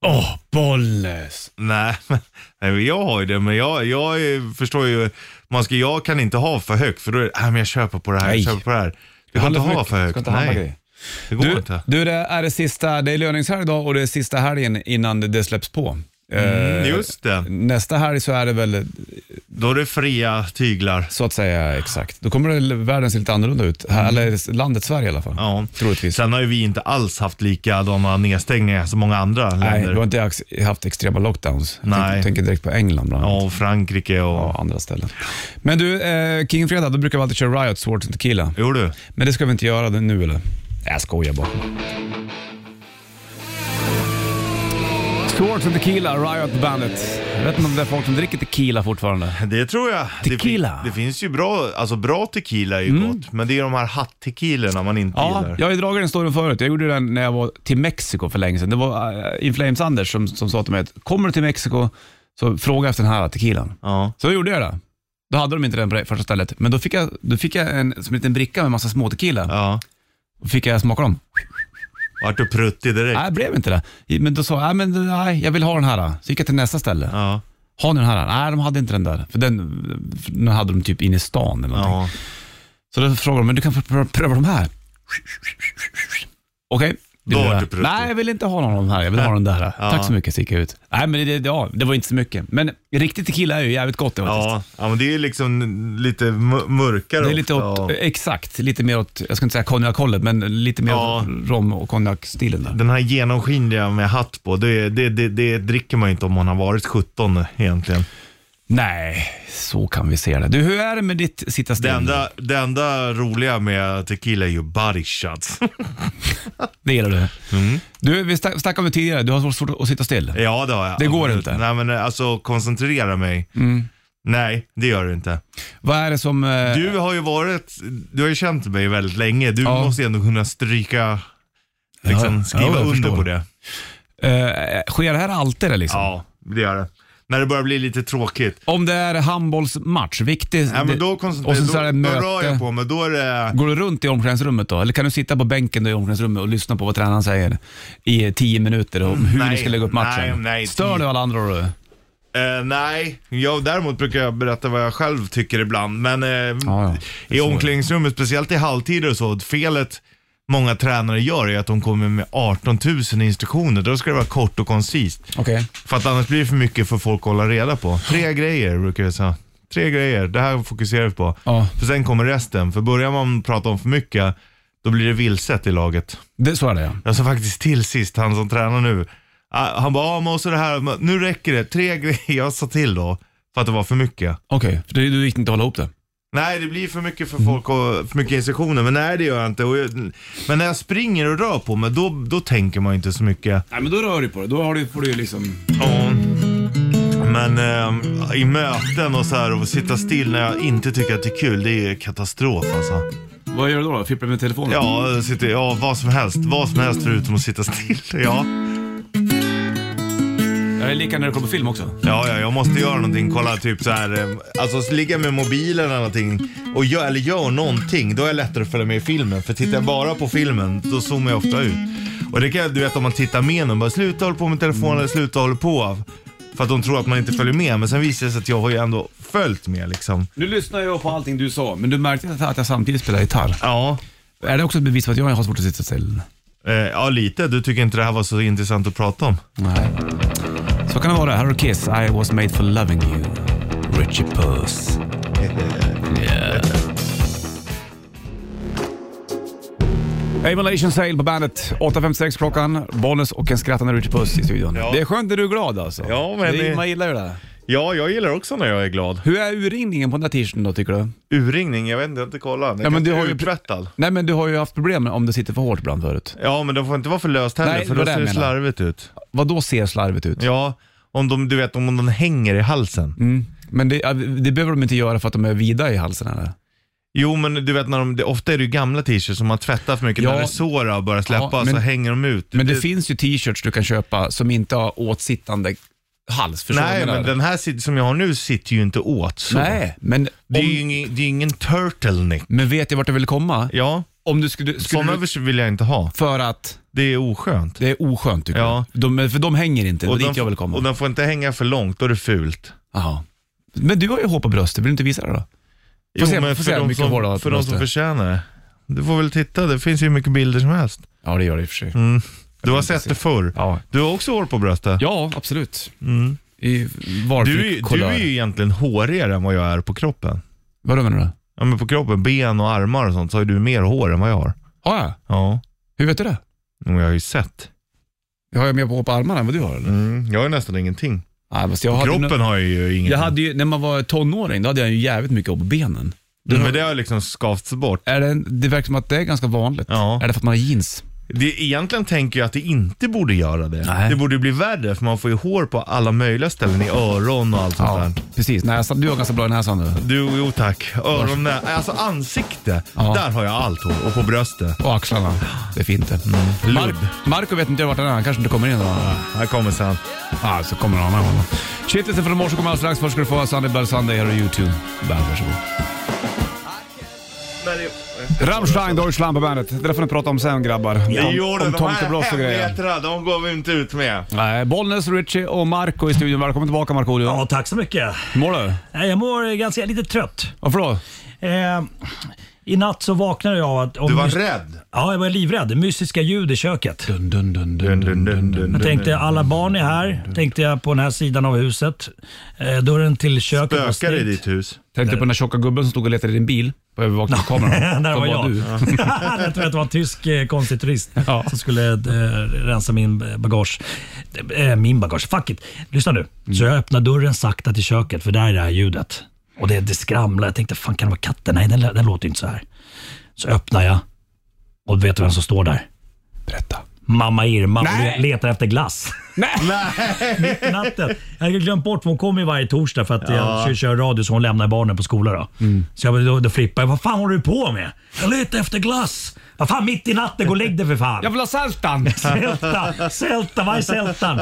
B: Åh, Bollnäs.
C: Nej, men- nej, men jag har ju det, men jag, jag är- förstår ju, man ska, jag kan inte ha för högt för då är det, nej men jag köper på det här,
B: Nej.
C: jag köper på det här. Du kan inte ha för högt,
B: Ska inte handla
C: nej.
B: grejer.
C: Det går
B: Du,
C: inte.
B: du, det är det sista, det är löningshelg idag och det är sista helgen innan det släpps på. Eh,
C: Just det,
B: Nästa helg så är det väl
C: då är det fria tyglar.
B: så att säga exakt. Då kommer det, världen se lite annorlunda ut. Här, Eller landet Sverige i alla fall.
C: Mm. Ja.
B: Troligtvis.
C: Sen har ju vi inte alls haft likadana nedstängningar som många andra
B: Nej,
C: länder.
B: vi har inte ex- haft extrema lockdowns. Jag
C: Nej.
B: tänker- tänker direkt på England bland annat.
C: Ja, och Frankrike och...
B: Och andra ställen. Men du, eh, King Fredag, då brukar vi alltid köra Riot, Swords and Tequila.
C: Jo du.
B: Men det ska vi inte göra det nu eller? Jag skojar bara. Swords and Tequila, Riot Bandet. Jag vet inte om det är folk som dricker tequila fortfarande.
C: Det tror jag. Det fin-
B: Tequila. Mm.
C: Det, finns ju bra, alltså bra tequila är ju gott, men det är de här hatt-tequilorna man inte
B: Ja,
C: gillar.
B: jag har ju dragit den storyn förut. Jag gjorde den när jag var till Mexiko för länge sedan. Det var eh, In Flames-Anders som, som sa till mig att kommer du till Mexiko så fråga efter den här tequilan.
C: Ja.
B: Så då gjorde jag det. Då hade de inte den på det första stället. Men då fick jag, då fick jag en, som en liten bricka med massa små tequila.
C: Ja.
B: Då fick jag smaka dem.
C: Vart du pruttig direkt.
B: Nej, det blev inte det. Men då sa jag, "Nej, men nej, jag vill ha den här. Så gick jag till nästa ställe.
C: Ja.
B: Har ni den här? Nej, de hade inte den där. För den, för den hade de typ inne i stan eller någonting.
C: Ja.
B: Så då frågade de, men du kan få prö- pröva de här. Okej.
C: Då
B: Vill
C: vart
B: det?
C: du pruttig.
B: Nej, jag vill inte ha någon av de här. Jag vill ha den där.
C: Ja.
B: Tack så mycket, så gick jag ut. Nej, men det, det, ja, det var inte så mycket. Men riktigt tequila är ju jävligt gott det faktiskt.
C: Ja. ja, men det är ju liksom lite mu- mörkare
B: Det är lite
C: ofta,
B: åt,
C: och-
B: exakt, lite mer åt, jag ska inte säga konjakhållet, men lite mer
C: Ja.
B: åt rom och konjakstilen där.
C: Den här genomskinliga med hatt på, det, det, det, det dricker man ju inte om man har varit 17 egentligen.
B: Nej, så kan vi se det. Du, hur är det med ditt sitta
C: Det
B: still?
C: enda, det enda roliga med tequila är ju alltså. body shots.
B: Det gillar du. Du, vi snack- snackade om det tidigare, du har svårt att sitta still.
C: Mm. Ja, det har jag.
B: Det går inte. Mm.
C: Nej, men alltså koncentrera mig. Nej, det gör du inte.
B: Vad är det som... eh,
C: Du har ju varit, du har ju känt mig väldigt länge. Du
B: Ja.
C: måste ju ändå kunna stryka, liksom,
B: Ja,
C: skriva
B: ja, jag
C: under
B: förstår.
C: på det.
B: eh, sker det här alltid det, liksom?
C: Ja, det gör det. När det börjar bli lite tråkigt.
B: Om det är handbollsmatch, viktig...
C: Nej, men då,
B: det,
C: koncentrerar-
B: och sen så är det
C: då, då rör jag
B: möte.
C: på mig. Då är det...
B: Går du runt i omklädningsrummet då? Eller kan du sitta på bänken då i omklädningsrummet och lyssna på vad tränaren säger i tio minuter om hur
C: Nej,
B: ni ska lägga upp matchen?
C: nej, nej,
B: Stör
C: tio-
B: du alla andra då?
C: Eh, nej, jag, däremot brukar jag berätta vad jag själv tycker ibland. Men eh,
B: ja.
C: i omklädningsrummet, speciellt i halvtider och så, felet många tränare gör är att de kommer med 18 000 instruktioner. Då ska det vara kort och koncist.
B: Okej.
C: För att annars blir det för mycket för folk att hålla reda på. Tre grejer brukar jag säga. Tre grejer, det här fokuserar vi på.
B: Ja.
C: För sen kommer resten. För börjar man prata om för mycket, då blir det vilset i laget.
B: Det Så är det ja.
C: Jag sa faktiskt till sist, han som tränar nu. Ah, Han bara, ja men och så det här, men nu räcker det. Tre grejer jag sa till då, för att det var för mycket.
B: Okej, för det, du gick inte att hålla ihop det.
C: Nej, det blir för mycket för folk och för mycket instruktioner. Men nej, det gör jag inte. Och jag, men när jag springer och rör på mig, då, då tänker man ju inte så mycket.
B: Nej, men då rör du på det. Då har du, får du ju liksom...
C: Ja. Men ehm, i möten och så här och sitta still när jag inte tycker att det är kul, det är ju katastrof alltså.
B: Vad gör du då? då? Fipplar med telefonen?
C: Ja, jag sitter, ja, vad som helst. Vad som helst förutom att sitta still. Ja.
B: Ja, Det är lika när du kollar på film också.
C: Ja, ja, jag måste göra någonting. Kolla typ så här, eh, alltså så ligga med mobilen eller någonting och gör, eller gör någonting, då är det lättare att följa med i filmen. För tittar jag bara på filmen, då zoomar jag ofta ut. Och det kan jag- du vet om man tittar med någon, bara sluta hålla på med telefonen eller sluta hålla på. För att de tror att man inte följer med, men sen visar det sig att jag har ju ändå följt med liksom.
B: Nu lyssnar jag på allting du sa, men du märkte inte att jag samtidigt spelar gitarr.
C: Ja.
B: Är det också ett bevis på att jag har svårt att sitta still?
C: Eh, ja, lite. Du tycker inte det här var så intressant att prata om?
B: Nej. Så kan det vara. Här har du Kiss, I was made for loving you. Richie Puss. Yeah. Avalation Sale på bandet. 8.56 klockan. Bollnäs och en skrattande Richie Puss i studion.
C: Ja.
B: Det är skönt när du är glad alltså.
C: Ja, men
B: det,
C: det-
B: Man gillar ju det. där.
C: Ja, jag gillar också när jag är glad.
B: Hur är urringningen på den där t-shirten då tycker du?
C: Urringning? Jag vet inte, jag har inte kollat. Den
B: Ja, men
C: kanske
B: du har
C: är
B: ju-
C: urtvättad.
B: Nej men du har ju haft problem om det sitter för hårt ibland förut.
C: Ja, men de får inte vara för löst heller,
B: Nej,
C: för
B: det
C: då
B: var
C: ser
B: det
C: det
B: jag menar.
C: slarvigt ut.
B: Vad då ser slarvigt ut?
C: Ja, om de, du vet om de hänger i halsen.
B: Mm. Men det, det behöver de inte göra för att de är vida i halsen eller?
C: Jo, men du vet när de, det, ofta är det ju gamla t-shirts som man tvättar för mycket.
B: Ja.
C: När det sårar och börjar släppa
B: Ja, men-
C: så hänger de ut.
B: Men det, finns ju t-shirts du kan köpa som inte har åtsittande hals. Förstår
C: Nej,
B: du vad
C: men
B: jag menar?
C: den här sit- som jag har nu sitter ju inte åt så.
B: Nej, men,
C: Det är ju
B: om,
C: ingen, det är ingen turtleneck.
B: men vet jag vart jag vill komma?
C: Ja,
B: Om du skulle... skulle
C: sådana
B: du,
C: övers- vill jag inte ha.
B: för att
C: Det är oskönt.
B: det är oskönt tycker
C: Ja.
B: jag. De, för de hänger inte, det var dit jag vill
C: och
B: komma.
C: den får inte hänga för långt, då är det fult.
B: Jaha. Men du har ju hår på bröstet, vill du inte visa det då? Får se- får
C: för
B: se hur
C: de
B: mycket hår du
C: som,
B: har
C: för de som
B: måste.
C: förtjänar det. Du får väl titta, det finns ju hur mycket bilder som helst.
B: Ja, det gör det i och för sig.
C: Mm. Du har sett det förr.
B: Ja.
C: Du har också hår på bröstet.
B: ja, absolut. I valfri
C: Mm. Du, är- du
B: kulör.
C: är ju egentligen hårigare än vad jag är på kroppen.
B: Vadå menar du?
C: Ja, men på kroppen, ben och armar och sånt, så har ju du mer hår än vad jag har.
B: Har jag?
C: Ja,
B: Ah, Hur vet du det?
C: men jag har ju sett.
B: Har jag mer på hår på armarna än vad du har eller?
C: Mm, jag har ju nästan ingenting.
B: Nej, fast jag hade nog-
C: Kroppen har jag ju ingenting.
B: Jag hade ju, när man var tonåring, då hade jag ju jävligt mycket hår på benen.
C: Mm, Men det har liksom skavts bort.
B: Är det, en- det verkar som att det är ganska vanligt.
C: Ja.
B: Är det för att man har jeans?
C: Det, egentligen tänker jag att det inte borde göra det.
B: Nej.
C: Det borde ju bli värre, för man får ju hår på alla möjliga ställen, i öron och allt sånt där.
B: precis. Näsan, du har ganska bra näsa nu.
C: Du, jo tack. Öron, nä- alltså ansikte,
B: Ja.
C: där har jag allt hår. Och på bröstet.
B: Och axlarna. Det är fint det.
C: Lubb.
B: Mark, Marco vet inte vart han är, han kanske inte kommer in. då.
C: Här kommer sen.
B: Ah, så kommer han annan gång. Shitlisten från morse kommer alldeles strax. Först ska du få Sunday Bell Sunday här och YouTube. Band, varsågod. Rammstein, Deutschland på bandet. Det där får ni prata om sen grabbar. Om,
C: Jo,
B: om
C: de här
B: tomtebloss och grejer.
C: hemligheterna, de går vi inte ut med.
B: Nej, Bollnäs, Richie och Marco i studion. Välkommen tillbaka Markoolio.
H: Ja, tack så mycket.
B: Hur mår du?
H: Nej, Jag mår ganska, jag är lite trött.
B: Varför då?
H: Eh, I natt så vaknade jag av att... om-
C: Du var rädd.
H: Ja, jag var livrädd. Mystiska ljud i köket.
B: Dun, dun, dun, dun.
H: Jag tänkte alla barn är här, tänkte jag på den här sidan av huset. Eh, dörren till köket var
C: Spökar i
H: stängd.
C: ditt hus.
B: Tänkte på den där tjocka gubben som stod och letade i din bil på övervakningskameran.
H: Där
B: Som
H: var jag.
B: du.
H: jag tror att det var en tysk eh, konstturist som skulle eh, rensa min bagage. Eh, min bagage, fuck it. Lyssna nu. Så jag öppnar dörren sakta till köket för där är det här ljudet. Och det, det skramlar. Jag tänkte, fan kan det vara katten? Nej, den, lä- den låter inte så här. Så öppnar jag och vet du vem som står där?
B: Berätta.
H: Mamma Irma och
B: Nej.
H: le- letar efter glass. Mitt i natten. Jag hade glömt bort, för hon kommer ju varje torsdag för att jag kör, kör radio så hon lämnar barnen på skolan. Då. Så jag, då, då flippar jag. Vad fan håller du på med? Jag letar efter glass. Vad fan mitt i natten, gå och lägg dig för fan.
B: Jag vill ha sältan!
H: Sälta, sälta, vad är sältan?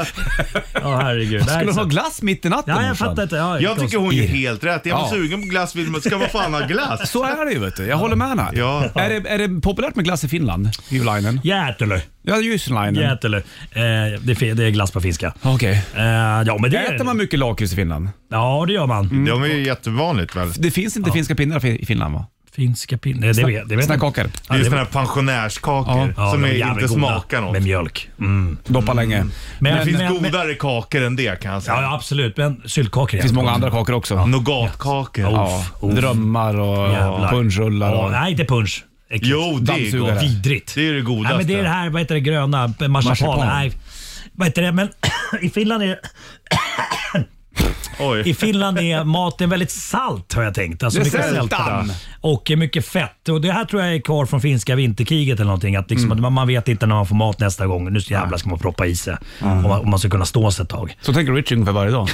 H: Ja herregud.
B: Skulle
H: Nej,
B: de
H: så-
B: ha glass mitt i natten?
H: Ja, jag
B: morsan?
H: fattar inte. Ja,
C: Jag tycker hon är helt rätt. Jag var
B: Ja.
C: sugen på glass, vill man ska man fan ha glass?
B: Så är det ju vet du. Jag håller med henne.
C: Ja.
B: Är, det, är det populärt med glass i Finland? Julainen?
H: Jätelö.
B: Ja, Jyslainen.
H: Jätelö. Eh, det, är fe- det är glass på finska.
B: Okej.
H: Eh, ja, men det är
B: Äter man mycket lakrits i Finland?
H: Ja, det gör man.
C: De är ju jättevanligt väl?
B: Det finns inte finska pinnar i Finland va?
H: Finska pinnar. Det vet, det vet jag inte.
B: Snackakar.
C: Det är ju
H: det-
C: såna här pensionärskakor
H: Ja,
C: som
H: de
C: är
H: jävligt
C: inte
H: goda
C: smakar något.
H: Med mjölk. Mm.
B: Doppa länge.
H: Men,
C: Det finns
H: men, men,
C: godare kakor än det kan jag säga.
H: Ja, ja, absolut. Men syltkakor
B: Det finns många andra kakor också. Ja.
C: Nougatkakor.
H: uff.
B: Drömmar och punschrullar
H: Ja,
B: och...
H: nej, inte punsch. Äckligt.
C: Jo, det är
B: Dammsugare.
C: gott.
H: Vidrigt.
C: Det är det
H: Nej,
C: godaste.
H: men det är det här, vad heter det, gröna, eh, marsipan.
B: Marsipan.
H: Nej, vad heter det, men i Finland är i
C: Oj.
H: Finland är maten väldigt salt har jag tänkt. Alltså
B: Det är
H: mycket
B: sältan.
H: sälta Och eh, mycket fett. Och Det här tror jag är kvar från finska vinterkriget eller någonting. Att
B: Mm.
H: liksom, att man, man vet inte när man får mat nästa gång. Nu så jävlar ska man proppa i sig. Om, man, om man ska kunna stå sig ett tag.
B: Så tänker Richie ungefär varje dag.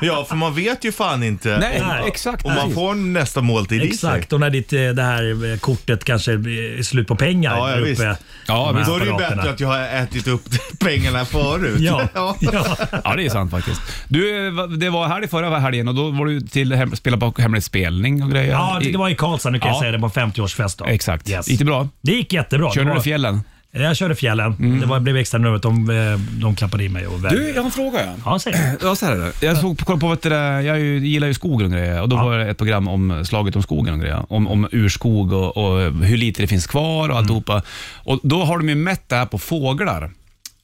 C: Ja, för man vet ju fan inte.
B: Nej,
H: Nej.
B: exakt.
C: Och man får nästa måltid i sig.
H: Exakt, och när ditt, eh, det här eh, kortet kanske eh, är slut på pengar.
C: Ja, ja,
H: där
C: visst.
B: Ja,
H: De här
B: visst.
C: Då är det ju
H: apparaterna.
C: bättre att jag har ätit upp pengarna förut.
H: Ja, ja.
B: Ja, det är sant faktiskt. Du, eh, va- det var här i förra helgen och då var du till hem, spela på hemlig spelning och grejer.
H: ja, det var i Karlstad, nu kan
B: Ja.
H: jag säga det, på 50-årsfest. då.
B: Exakt.
H: Yes.
B: Gick det bra?
H: Det gick jättebra.
B: Körde
H: det
B: du
H: var,
B: i fjällen? Mm.
H: Jag körde fjällen. Det var, blev extra numret. De, eh, de klappade i mig. Och väl-
B: jag har en fråga.
H: Ja, säg.
B: Ja, så här är det. Jag såg, kollade på, vet du, det, jag är ju- gillar ju skogen och grejer och då var det ett program om slaget om skogen och grejer. Om, om urskog och, och hur lite det finns kvar och alltihopa. Och då har de ju mätt det här på fåglar.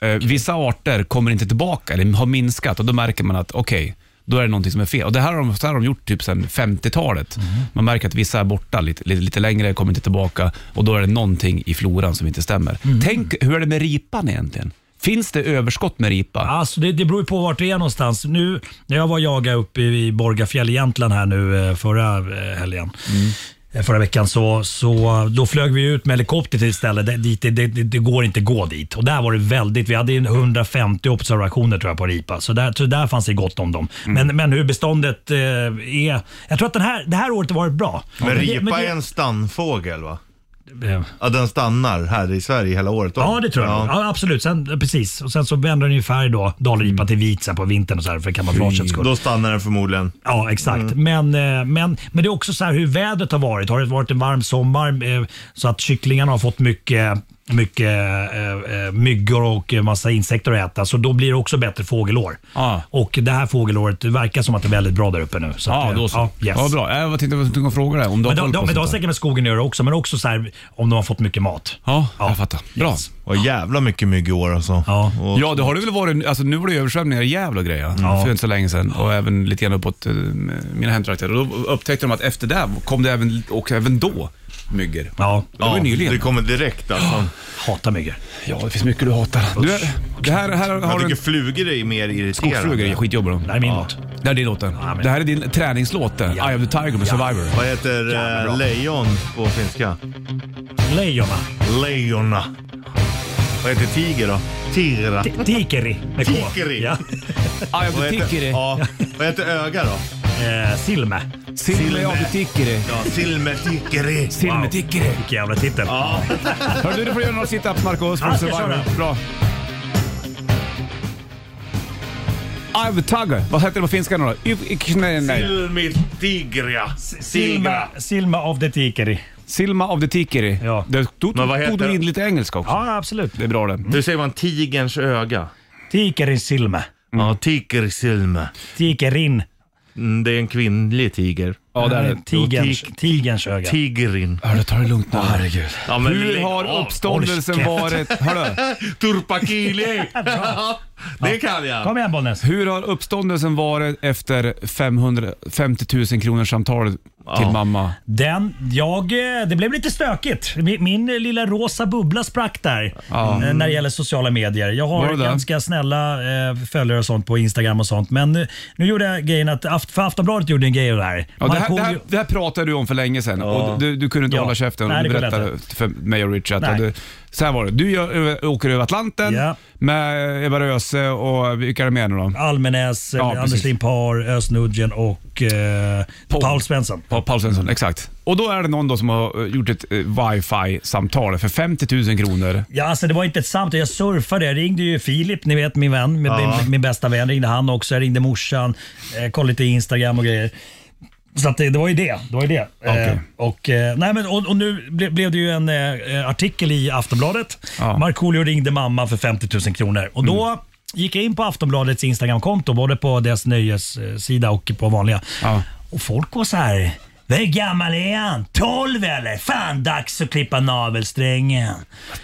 B: Eh, vissa arter kommer inte tillbaka eller har minskat och då märker man att okej, då är det någonting som är fel. Och det här har de, så här har de gjort typ sedan 50-talet. Man märker att vissa är borta lite, lite, lite längre, kommer inte tillbaka och då är det någonting i floran som inte stämmer. Tänk, hur är det med ripan egentligen? Finns det överskott med ripa?
H: Alltså, det, det beror ju på vart det är någonstans. Nu när jag var och jagade uppe i Borgafjäll i Jämtland här nu eh, förra eh, helgen.
C: Mm.
H: eh, Förra veckan så, så då flög vi ut med helikopter till ett ställe. där- Dit, det, det, det går inte gå dit. Och där var det väldigt, vi hade en 150 observationer tror jag på ripa. Så där, så där fanns det gott om dem.
C: Mm.
H: Men, men hur beståndet eh, är. Jag tror att den här, det här året har varit bra.
C: Men
H: det-
C: ripa
H: det-
C: är en stannfågel va?
H: eh,
C: Ja, den stannar här i Sverige hela året om.
H: Ja, det tror jag. Ja. absolut. Sen, precis. Och sen så ändrar den ju färg då, dalripa till vit sen på vintern och så här för kamouflagets skull.
C: Mm. Då stannar den förmodligen.
H: Ja, exakt.
B: Mm.
H: Men, eh, men, men det är också så här hur vädret har varit. Har det varit en varm sommar eh, så att kycklingarna har fått mycket mycket eh, eh, myggor och eh, massa insekter att äta, så då blir det också bättre fågelår.
B: Ja.
H: Och det här fågelåret det verkar som att det är väldigt bra där uppe nu. Så att,
B: Ja,
H: eh,
B: då så.
H: Ja, yes.
B: Ja, bra. Jag tänkte att jag skulle fråga dig om du har
H: Men,
B: koll
H: de, de,
B: på
H: men det har
B: sånt där.
H: säkert med skogen att göra också, men också så här, om de har fått mycket mat.
B: Ja,
H: Ja.
B: jag fattar. Bra.
C: Och jävla mycket mygg i år alltså.
H: Ja.
C: Och,
B: Ja, det har det väl varit. Alltså, nu var det ju översvämningar i Gävle och grejer för inte så länge sedan och även lite grann uppåt eh, mina hemtrakter. Och då upptäckte de att efter det kom det även, och även då myggor.
H: Ja,
B: Det var ju nyligen.
C: det kommer direkt alltså.
H: hatar myggor.
B: Ja, det finns mycket du hatar. Du, det här, här har
C: Jag
B: du
C: tycker
B: en
C: flugor är mer
B: skogsflugor i.
C: irriterande.
B: Skitjobbar de.
H: Det här är min låt.
B: Det här är din låt.
H: men-
B: Det här är din träningslåt. den.
H: Ja.
B: Eye of the Tiger med
H: Ja.
B: Survivor.
C: Vad heter eh, lejon på finska?
H: Lejon va?
C: Lejona. Vad heter tiger då? Tigra.
H: Tikeri med K.
C: Tikeri.
H: Ja.
B: Eye of
C: Vad
B: the
C: heter,
B: Tickeri.
C: ja, vad heter öga då?
H: Eh, Silme.
B: Silme of the Tickeri.
C: Ja, silmetikeri.
B: Silme Tickeri.
H: Vilken jävla titel.
B: Hör du, du får göra några situps Marco. så får du
H: Ja, jag
B: Survivor.
H: kör det.
B: Bra. Arvtagge. Vad heter det på finska nu då? Yv- nej, nej.
C: Silmi Tigria.
H: Silma,
C: Sigra.
H: Silma of the Tikeri.
B: Silma of the Tikiri.
H: Ja.
B: Det tog,
C: Men vad
B: tog
C: heter
B: du in
C: det?
B: lite engelska också.
H: Ja, absolut.
B: Det är bra det.
C: Hur säger man tigerns öga?
H: Tikeri Silma.
C: Ja, tigersilme.
H: Tikerin.
C: Mm, det är en kvinnlig tiger.
B: Ja, det är det.
H: Tigerns,
C: Jo, tik-
H: tigerns öga.
C: Tigrin.
B: Hörru, ta det lugnt nu. Herregud.
C: Ja, men
B: Hur
C: lägg
B: har
C: av.
B: uppståndelsen
H: håll
B: varit... Hörru,
C: Turpakili! Ja, det kan jag.
H: Kom igen Bollnäs.
B: hur har uppståndelsen varit efter 550 000 kronors samtalet till mamma?
H: Den, jag, eh, det blev lite stökigt. Min, min lilla rosa bubbla sprack där eh, när det gäller sociala medier. Jag
B: Var
H: har
B: det det?
H: ganska snälla eh, följare och sånt på Instagram och sånt. Men nu, nu gjorde jag grejen att Aft, för Aftonbladet gjorde en grej av det här.
B: Ja, det,
H: Man
B: här,
H: tog
B: det, här,
H: ju-
B: det här pratade du om för länge sedan och du, du kunde inte
H: Ja.
B: hålla käften.
H: Nej,
B: och du
H: det kunde
B: berättade
H: jag
B: för mig och Richard.
H: Nej.
B: Och du, så här var det, du gör, åker över Atlanten
H: Ja.
B: med Eva Röse och vilka är det mer nu då?
H: Almenäs,
B: Ja,
H: eh,
B: precis.
H: Anders Limpar, Özz Nujen och eh, Paul Svensson.
B: Pa- Paul Svensson, exakt. Och då är det någon då som har eh, gjort ett eh, wifi-samtal för 50 000 kronor.
H: Ja, alltså det var inte ett samtal. Jag surfade. Jag ringde ju Filip, ni vet min vän, min, min, min bästa vän. Ringde han också. Jag ringde morsan. Eh, kollade lite Instagram och grejer. Så att det, det var ju det. det, var ju det. Eh, och, eh, nej, men, och, och nu ble, blev det ju en eh, artikel i Aftonbladet.
B: Ja. Mm.
H: Markoolio ringde mamma för 50 000 kronor. Och då gick jag in på Aftonbladets Instagramkonto, både på deras nöjessida och på vanliga.
B: Ja.
H: Och folk var så här. Hur gammal är han? 12 eller? Fan dags att klippa navelsträngen.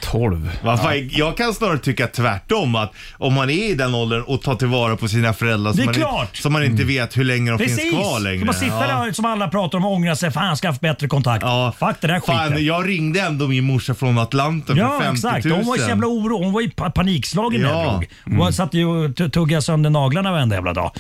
B: 12.
C: Va fan, jag kan snarare tycka tvärtom. Att om man är i den åldern och tar tillvara på sina föräldrar
H: Det
C: som
H: är
C: man,
H: klart. Mm.
C: Inte, som man inte vet hur länge de
H: Precis!
C: finns kvar längre.
H: Så man sitter
C: Ja.
H: där som alla pratar om och ångrar sig. Fan, jag ska ha haft bättre kontakt.
C: Ja.
H: Fuck det där
C: Fan,
H: skiten.
C: jag ringde ändå min morsa från Atlanten
H: Ja
C: för 50 000.
H: exakt. Hon var i så jävla oro. Hon var i pa- panikslagen när jag
C: Ja.
H: drog. Hon satt ju och tu- tuggade sönder naglarna varenda jävla dag.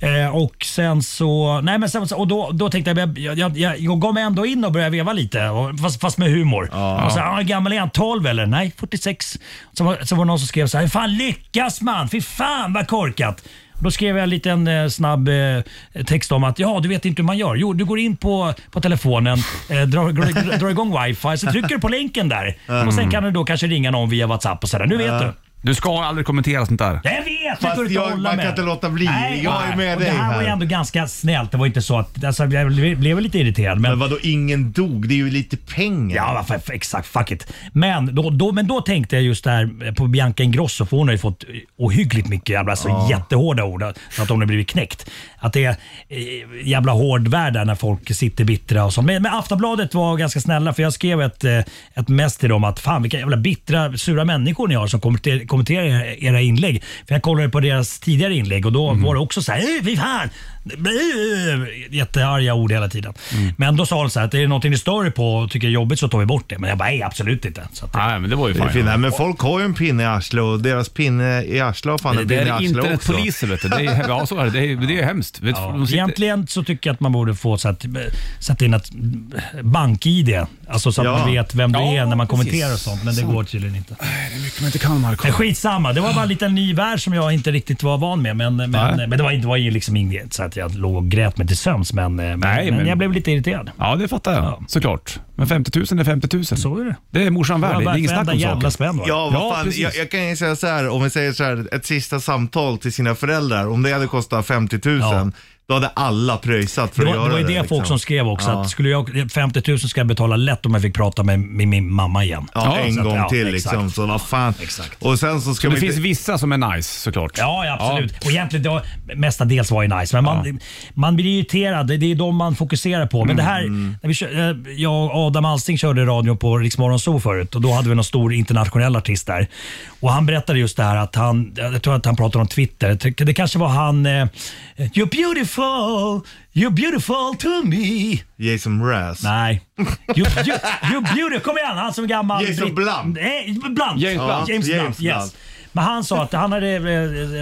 H: Eh, och sen så... Nej men sen, så- och då, då tänkte jag jag, jag, jag, jag, jag gav mig ändå in och började veva lite. och- Fast, fast med humor. Och så, ah, hur gammal är han? 12 eller? Nej, 46. Så var, så var det någon som skrev så här. Hur fan lyckas man? Fy fan vad korkat. Då skrev jag en liten eh, snabb eh, text om att ja, du vet inte hur man gör. Jo, du går in på, på telefonen, eh, drar, drar, drar igång wifi, så trycker du på länken där. Och Sen kan du då kanske ringa någon via WhatsApp och sådär. Nu vet du.
B: Du ska aldrig kommentera sånt där.
H: Jag vet!
C: Fast
H: det går inte
C: jag-
H: att hålla
C: man kan
H: med.
C: inte låta bli.
H: Nej,
C: Jag är
H: nej.
C: med
H: och Det
C: dig
H: här var ju
C: här.
H: ändå ganska snällt. Det var inte så att... Alltså, jag blev blev lite irriterad. Men,
C: Men vadå, ingen dog? Det är ju lite pengar.
H: Ja, varför, f- exakt. Fuck it. Men då, då, men då tänkte jag just där på Bianca Ingrosso, för hon har ju fått ohyggligt mycket jävla alltså, jättehårda ord. Så att hon har blivit knäckt. Att det är eh, jävla hård värld där när folk sitter bittra och så. Men, men Aftonbladet var ganska snälla för jag skrev ett, eh, ett mess till dem att fan vilka jävla bittra, sura människor ni har som kommenter- kommenterar era- era inlägg. För jag kollade på deras tidigare inlägg och
B: Mm.
H: då var det också så här, "Eh, fy fan, jättearga ord hela tiden.
B: Mm.
H: Men då sa de så här att är det någonting ni stör er på och tycker är jobbigt så tar vi bort det. Men jag bara, nej absolut inte. Så att,
B: Nej, men det var ju
C: Det är
B: fint.
C: fint. Nej, men folk har ju en pinne i arslet och deras pinne i arslet har fan en
B: Det
C: pinne i
B: är
C: arslet också.
B: internetpoliser vet du. Det är, ja, så är det. Det är, det är hemskt. Vet,
H: ja.
B: de sitter-
H: Egentligen så tycker jag att man borde få så att, sätta in ett bank-id. Alltså så att
C: Ja.
H: man vet vem du
B: Ja,
H: är när man
B: precis.
H: kommenterar och sånt. Men det går tydligen inte.
B: Men inte kan Marko.
H: Men skitsamma, det var bara en liten ny värld som jag inte riktigt var van med. Men, men, men det var, inte- var ju liksom inget så att jag låg och grät mig till sömns. Men, eh, men,
B: Nej,
H: men
B: men-
H: jag blev lite irriterad.
B: Ja, det fattar jag. Såklart. Men 50 000 är 50 000.
H: Så är det.
B: Det är morsan värd. Det är inget snack
H: Varenda
B: om
H: jävla
B: saken.
H: spänn var det.
C: Ja, vad
B: Ja,
C: fan.
B: precis.
C: Jag, jag kan ju säga så här, om vi säger så här, ett sista samtal till sina föräldrar, om det hade kostat 50 000,
H: Ja.
C: då hade alla pröjsat för
H: Det
C: att
H: var,
C: göra
H: det
C: det.
H: var ju det folk
C: liksom.
H: som skrev också.
C: Ja.
H: Att skulle jag 50 000 ska jag betala lätt om jag fick prata med, med min mamma igen.
C: Ja,
B: Ja,
C: en
H: så att-
C: gång
H: ja,
C: till
H: exakt.
C: liksom. Så vad fan.
H: Exakt.
C: Och sen så ska
B: Det
C: man
B: finns
C: inte-
B: vissa som är nice såklart.
H: Ja, ja absolut. Och egentligen, det var, mestadels var ju nice, men man, man blir irriterad. Det är de man fokuserar på. Men det här, när vi kör, eh, jag och Adam Alsing körde radio på Rix Morgon Zoo förut och då hade vi någon stor internationell artist där. Och Han berättade just det här att han, jag tror att han pratade om Twitter. Det kanske var han, eh, “You're beautiful, you're beautiful to me”.
C: Jason Mraz.
H: Nej. You, you, you beauty. Kom igen, han som är gammal.
C: Jason Blunt.
H: Nej, Blunt.
B: James Blunt.
H: James
C: James
H: Blunt,
C: Blunt.
H: yes. Men han sa att han hade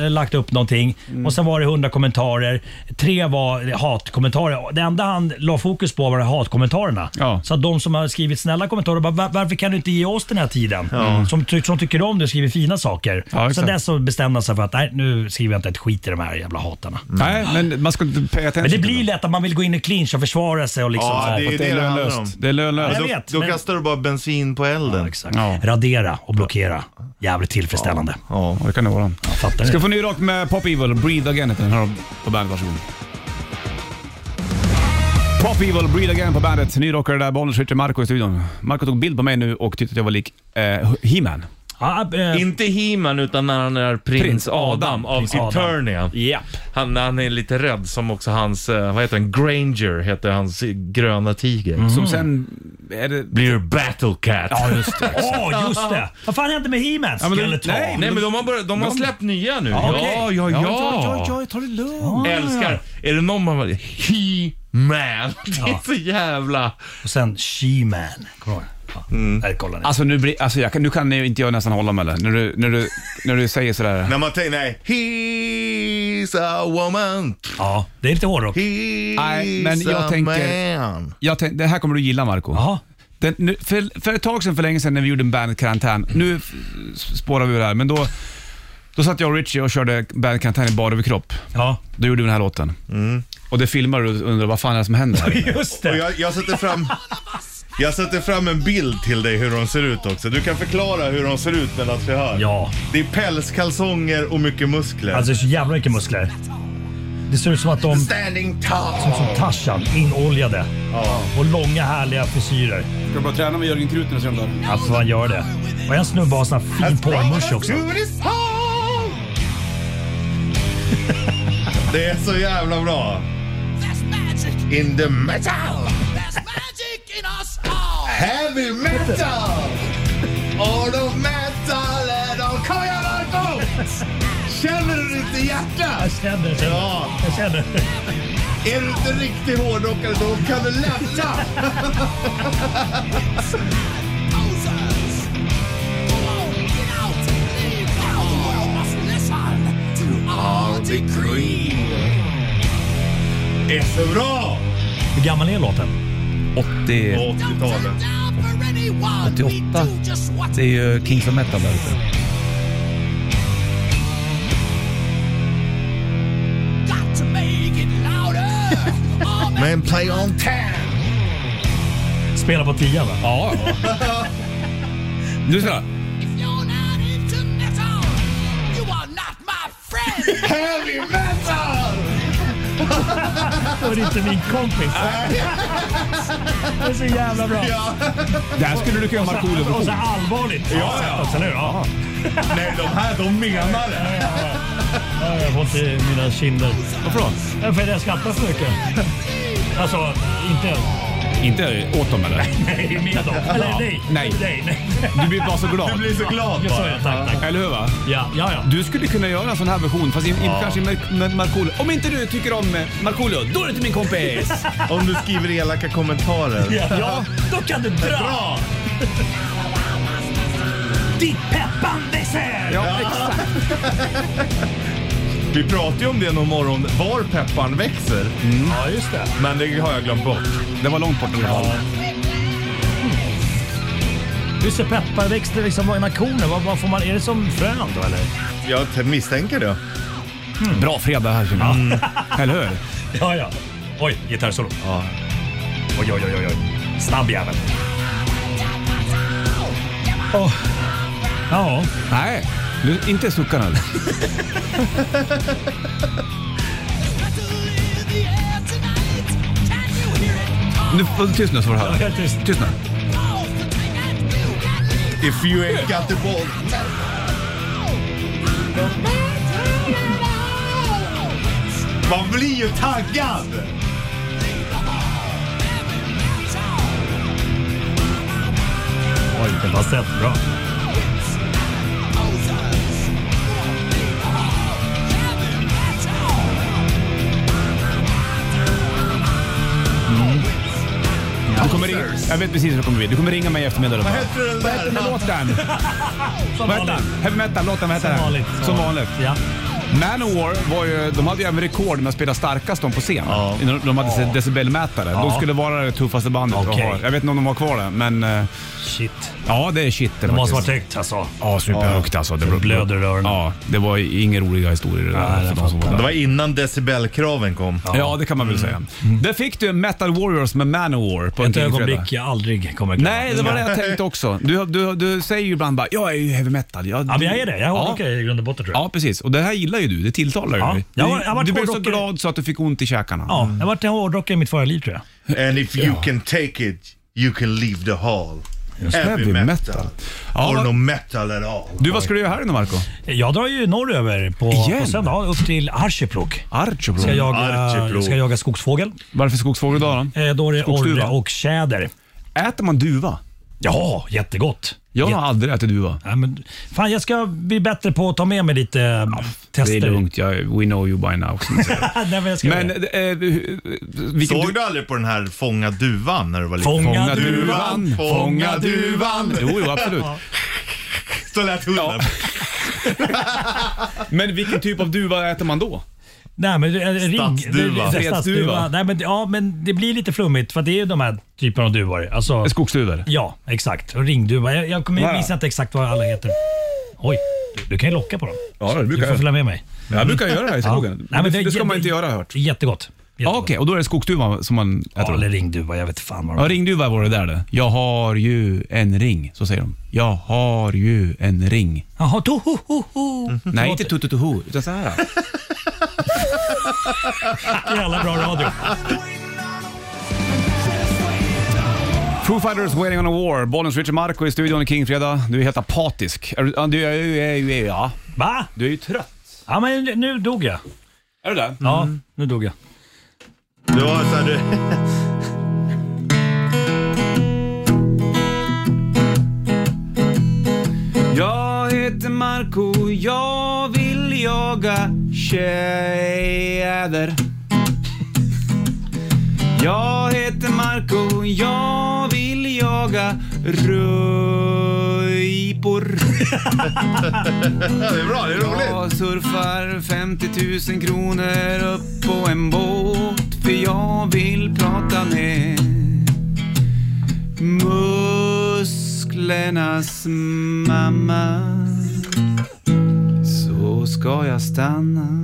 H: eh, lagt upp någonting
C: Mm.
H: och sen var det 100 kommentarer. Tre var hatkommentarer. Det enda han la fokus på var hatkommentarerna.
B: Ja.
H: Så att de som har skrivit snälla kommentarer bara, "Va- varför kan du inte ge oss den här tiden? Mm. Som, ty- som tycker om det och skriver fina saker.
B: Ja,
H: så
B: exakt.
H: dess så bestämde han sig för att nej, nu skriver jag inte ett skit i de här jävla hatarna.
B: Nej, men man ska inte pay attention
H: Men det
B: till
H: blir
B: dem.
H: lätt att man vill gå in i clinch och försvara sig och liksom
C: Ja,
H: så här.
C: det är ju
B: Det är
C: det handlar om.
B: lönlöst. Det är lönlöst.
H: Jag
C: Då,
H: vet,
C: då
H: men-
C: kastar du bara bensin på elden.
H: Exakt.
B: Ja.
H: Radera och blockera. Jävligt tillfredsställande.
C: Ja.
B: Ja, det kan det vara.
H: Fattar
B: Ska
H: ni?
B: få ny rock med Pop Evil. Breathe Again heter den här på bandet. Varsågod. Pop Evil, Breathe Again på bandet. Ny rockare där, Bollnäs Richard Marco i studion. Marco tog bild på mig nu och tyckte att jag var lik eh, He-Man.
H: Ja, eh,
C: Inte He-Man utan när han är prins,
B: Prins
C: Adam,
B: Adam.
C: av
H: Prins
C: sin
H: Adam.
C: Turnia. Han, han är lite rädd som också hans, eh, vad heter han, Granger heter hans eh, gröna tiger.
B: Som sen... Är det...
C: Blir Battle Cat.
H: Mm. Ja, just det. Åh, just det. Vad fan hände med He-Man?
B: men det-
H: Skulle ta.
B: nej,
C: Nej men de har, börjat, de har släppt nya nu. Ja,
H: okej.
C: ja, ja.
B: ta det lugnt.
C: Älskar. Är det någon man... He-Man. Det är så jävla...
H: Och sen She-Man. Kommer du ihåg? Ja. Nej, kolla nu.
B: Alltså nu, blir, alltså jag kan, nu kan ju inte jag nästan hålla mig eller? När du, när du, när du säger sådär...
C: När man tänker, nej. He's a woman.
H: Ja, det är lite hårdrock.
C: He's
B: Nej, men jag
C: a
B: tänker-
C: man.
B: Jag tänk, det här kommer du gilla Marco.
H: Jaha.
B: Den, nu, för, för ett tag sedan, för länge sedan, när vi gjorde en bandkarantän. Nu f- spårar vi ur det här, men då, då satt jag och Richie och körde bandkarantän i bara överkropp.
H: Ja,
B: Då gjorde vi den här låten.
I: Mm.
B: Och det filmar du och undrar vad fan är det som händer här inne?
H: just det.
I: Och jag, jag sätter fram... Jag sätter fram en bild till dig hur de ser ut också. Du kan förklara hur de ser ut medan vi hör.
H: Ja,
I: Det är pälskalsonger och mycket muskler.
H: alltså det är så jävla mycket muskler. Det ser ut som att de som,
I: Standing tall.
H: som Tarzan, inoljade. Och långa härliga frisyrer.
B: Ska bara träna med Jörgen Krutner sen då?
H: Alltså man gör det. Och en snubbe har sån här fin porrmusch också.
I: Det är så jävla bra. In the metal. Heavy metal. All of metal är de kojade emot. Känner du inte hjärtat?
H: Jag känner, jag känner.
I: Ja.
H: Jag känner.
I: Är du inte riktig hårdrockare då kan du lämna. Det är så bra.
H: Hur gammal är låten?
B: 80...
I: 80-talet.
B: 88. Det är ju Kings of Metal där
I: Men play on ten.
H: Spelar på tian va?
B: Ja, ja. Nu ska
I: Heavy metal!
H: Då är det inte min kompis. Det är så jävla bra.
B: Där skulle du kunna göra Markoolio
H: Och så
B: version.
H: allvarligt. Ja, ja. Också nu, ja.
I: Nej, de här de menar det.
H: Ja, Jag får inte mina kinder.
B: Varför då?
H: Ja, För jag skrattar för mycket. Alltså, inte...
B: Inte åt dem eller?
H: Nej, med dem. Eller nej.
B: Nej.
H: Nej, nej.
B: Du blir bara så glad.
I: Du blir så glad
H: Jag sa
I: bara.
H: ja, tack, tack.
B: Eller hur va?
H: Ja, ja, ja.
B: Du skulle kunna göra en sån här version, fast i, i, kanske med, med Markoolio. Om inte du tycker om eh, Markoolio, då är du inte min kompis!
I: Om du skriver elaka kommentarer.
H: Ja, då kan du dra. Bra. Ditt peppande säl.
B: ja, exakt.
I: Vi pratade ju om det någon morgon, var pepparn växer.
H: Ja, just det.
I: Men det har jag glömt bort.
B: Det var långt bort i alla fall.
H: Hur ser pepparväxter liksom vad är koner? Vad, vad får man? Är det som frön då eller?
I: Jag t- misstänker det.
B: Bra fredag här känner jag. Eller hur?
H: Ja, ja. Oj, gitarrsolo. Ja. Oj, oj, oj, oj, oj. Snabb jävel. Åh. Ja,
B: Nej, du, inte suckarna. Nu får du tyst nu så får du höra.
H: helt tyst.
B: Tyst nu.
I: If you ain't got the ball. Man blir ju taggad!
H: Oj, vilken basett. Bra.
B: Du kommer ringa, jag vet precis hur det kommer bli. Du kommer ringa mig i eftermiddag. och
I: Vad
B: bara,
I: heter den
B: Vad heter den
I: där?
B: låten?
H: Som
B: Vad heter
H: vanligt.
B: den? Heavy metal-låten, vad heter
H: Som
B: den?
H: vanligt.
B: Som vanligt.
H: Ja.
B: Manowar var ju, de hade ju även rekord med att spela starkast de på scen.
C: Ja.
B: De, de hade decibelmätare. De skulle vara det tuffaste bandet att
H: Okej.
B: ha. Jag vet inte om de har kvar det, men eh,
H: Shit.
B: ja det är shit det
H: Det
B: faktiskt.
H: måste varit högt alltså.
B: Ja, superhögt alltså. Det
H: blöder i öronen.
B: Ja, det var ju inga roliga historier det där.
H: Nej,
B: för
H: jag
B: de som var
C: Det
B: där.
C: var innan decibelkraven kom.
B: Ja, det kan man väl säga. Där fick du Metal Warriors med Manowar på en
H: Mm.
B: tidig
H: Ett
B: fredag.
H: ögonblick Mm. jag aldrig kommer glömma.
B: Nej, det var det jag tänkte också. Du, du, du säger ju ibland bara “jag är ju heavy metal”. Jag,
H: Ja, men jag är det. Jag har
B: Ja.
H: hårdrockare i grund och botten tror jag.
B: Ja, precis. Och det här gillar ju du. Det tilltalar ju
H: Ja.
B: dig.
H: Jag
B: Du-
H: har- jag har varit
B: du blev så
H: hårdrockare.
B: glad så att du fick ont i käkarna.
H: Ja, jag har varit en hårdrockare i mitt förra liv tror jag.
C: And if you can take it, you can leave the hall.
B: Heavy metal. Ja,
C: Or
B: vad-
C: no metal at all.
B: Du, vad ska du göra här nu Marco?
H: Jag drar ju norröver på,
B: Igen? Mm.
H: på söndag upp till Arjeplog.
B: Archibald.
H: Ska jaga,
C: Arjeplog.
H: ska jaga skogsfågel.
B: Varför skogsfågel idag då?
H: Eh, då är det
B: Skogsduva.
H: orre och tjäder.
B: Äter man duva?
H: Ja, jättegott.
B: Jag har aldrig ätit duva.
H: Ja, men, fan, jag ska bli bättre på att ta med mig lite eh, tester.
B: Det är lugnt, jag, we know you by now. som man säger.
H: Nej, men jag ska
B: Men
H: göra det.
B: eh, hu- vilken
C: Såg du aldrig på den här Fånga duvan när du var liten?
H: Fånga
B: Fånga
H: duva.
B: duvan, fånga
C: fånga
B: duvan.
C: duvan.
B: Jo, jo, absolut.
C: Så lät hunden.
B: Men vilken typ av duva äter man då?
H: Nej, men eh, ring.
C: Stadsduva.
H: Det- det- Stadsduva.
B: Fredsduva.
H: Nej, men, ja, men det blir lite flummigt för det är ju de här typerna av duvor. Alltså,
B: Skogsduvor.
H: ja, exakt. Och Ringduva. Jag, jag kommer jag
B: Ja.
H: minns inte exakt vad alla heter. Oj, du, du kan ju locka på dem.
B: Ja, det
H: Du
B: brukar
H: får följa med mig.
B: Jag brukar göra det här i
H: Ja.
B: skogen. men det,
H: är
B: det ska
H: jä-
B: man inte göra har jag hört.
H: Jättegott.
B: Ja,
H: jättegott.
B: Okej, och då är det skogsduvan som man äter?
H: Ja,
B: då?
H: eller ringduva. Jag vet fan vad de
B: Ja, ringduva var det där det. Jag har ju en ring, så säger de. Jag har ju en ring.
H: Jaha, tohohoho.
B: Nej, inte tututuhu, utan så här.
H: Jävla bra radio.
B: Foo Fighters Waiting on a War. Bollens Richard Marco i studion i Kingfredag. Du är helt apatisk. Är du, ja, du, är ju- är ju- är ju- ja.
H: Va?
B: du är ju trött.
H: Ja, men nu dog jag.
B: Är du det?
H: Ja, nu dog jag.
C: Det var så här, du...
B: Jag heter Marco, jag vill jaga tjäder. Jag heter Marco, jag vill jaga röjpor.
C: Ja, det är bra, det är roligt.
B: Jag surfar 50 000 kronor upp på en båt för jag vill prata med musklernas mamma. Så ska jag stanna.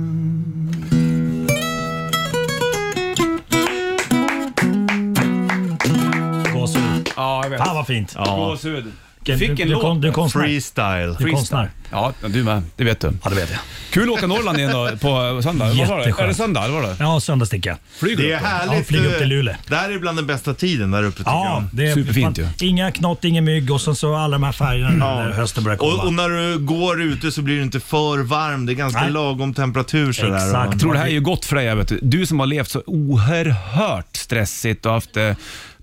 H: Gåshud.
B: Ja, jag vet.
H: Fan vad fint.
B: Gåshud.
H: Du-
B: Fick
H: du,
B: en
H: du,
B: låt.
H: kon- Du är konstnär.
C: Freestyle.
H: Du är konstnär.
B: Ja, du med. Det vet du.
H: Ja, det vet jag.
B: Kul att åka Norrland igen då på söndag. Vad var det?
H: Jätteskönt.
B: Är det söndag? Eller var det?
H: Ja, söndagssticka.
B: Flyger
C: Det
B: du
C: är
B: upp då?
H: Ja,
C: härligt. eh,
H: flyg upp till Luleå.
C: Det här är bland den bästa tiden där uppe tycker
H: Ja, det är
B: Superfint ju.
H: Inga knott, ingen mygg och sen så alla de här färgerna när hösten börjar
C: jag.
H: komma.
C: Och, och när du går ute så blir du inte för varm. Det är ganska
H: Nej.
C: lagom temperatur sådär.
H: Exakt.
C: Och-
B: tror det här är ju gott för dig. jag Vet du. du som har levt så oerhört stressigt och haft det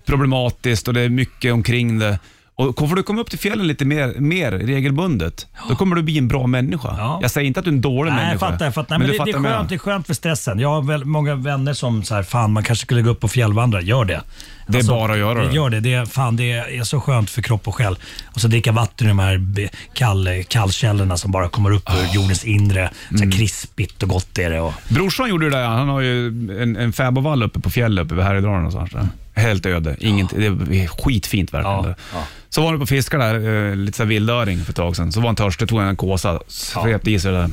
B: problematiskt och det är mycket omkring det. Och kommer du komma upp till fjällen lite mer, mer regelbundet, då kommer du bli en bra människa.
H: Ja.
B: Jag säger inte att du är en dålig
H: Nej,
B: människa.
H: jag fattar. Jag fattar. Nej, men
B: du
H: det, det, är
B: vad jag
H: skönt, det är skönt för stressen. Jag har väl många vänner som så här, fan man kanske skulle gå upp och fjällvandra. Gör det.
B: Det är bara att göra det.
H: Gör det. det är, fan, det är så skönt för kropp och själ. Och så dricka vatten i de här be- kall, kallkällorna som bara kommer upp
B: Ah.
H: ur jordens inre. Så
B: Mm.
H: här, Krispigt och gott är det. Och,
B: menar. Brorsan gjorde det där. Han har ju en, en fäbodvall uppe på fjället uppe vid Härjedalen någonstans. Där. Helt öde. Inget, Det är skitfint verkligen.
H: Ja,
B: där.
H: ja.
B: Så var han på och fiskade där, eh, lite så här vildöring för ett tag sedan. Så var han törstig, tog han en kåsa, svepte i sig det där.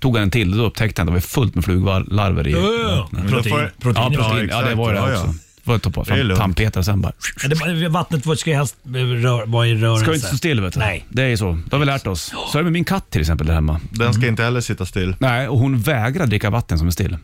B: Tog han en till, då upptäckte han att det var fullt med fluglarver i.
H: protein.
C: då får-
B: Ja,
H: protein.
B: protein. Ja,
C: exakt.
B: det var ju det
C: Ja, ja.
B: också. Får jag ta på
C: Det är
B: fram
C: lugnt.
B: tandpetare sen bara.
H: Ja, det var- Vattnet ska ju helst eh, rör, vara i rörelse.
B: Ska ju inte stå still vet du.
H: Nej.
B: Det är ju så. Det har vi lärt oss. Så är det med min katt till exempel där hemma.
C: Den
H: Mm.
C: ska inte heller sitta still.
B: Nej, och hon vägrar dricka vatten som är still.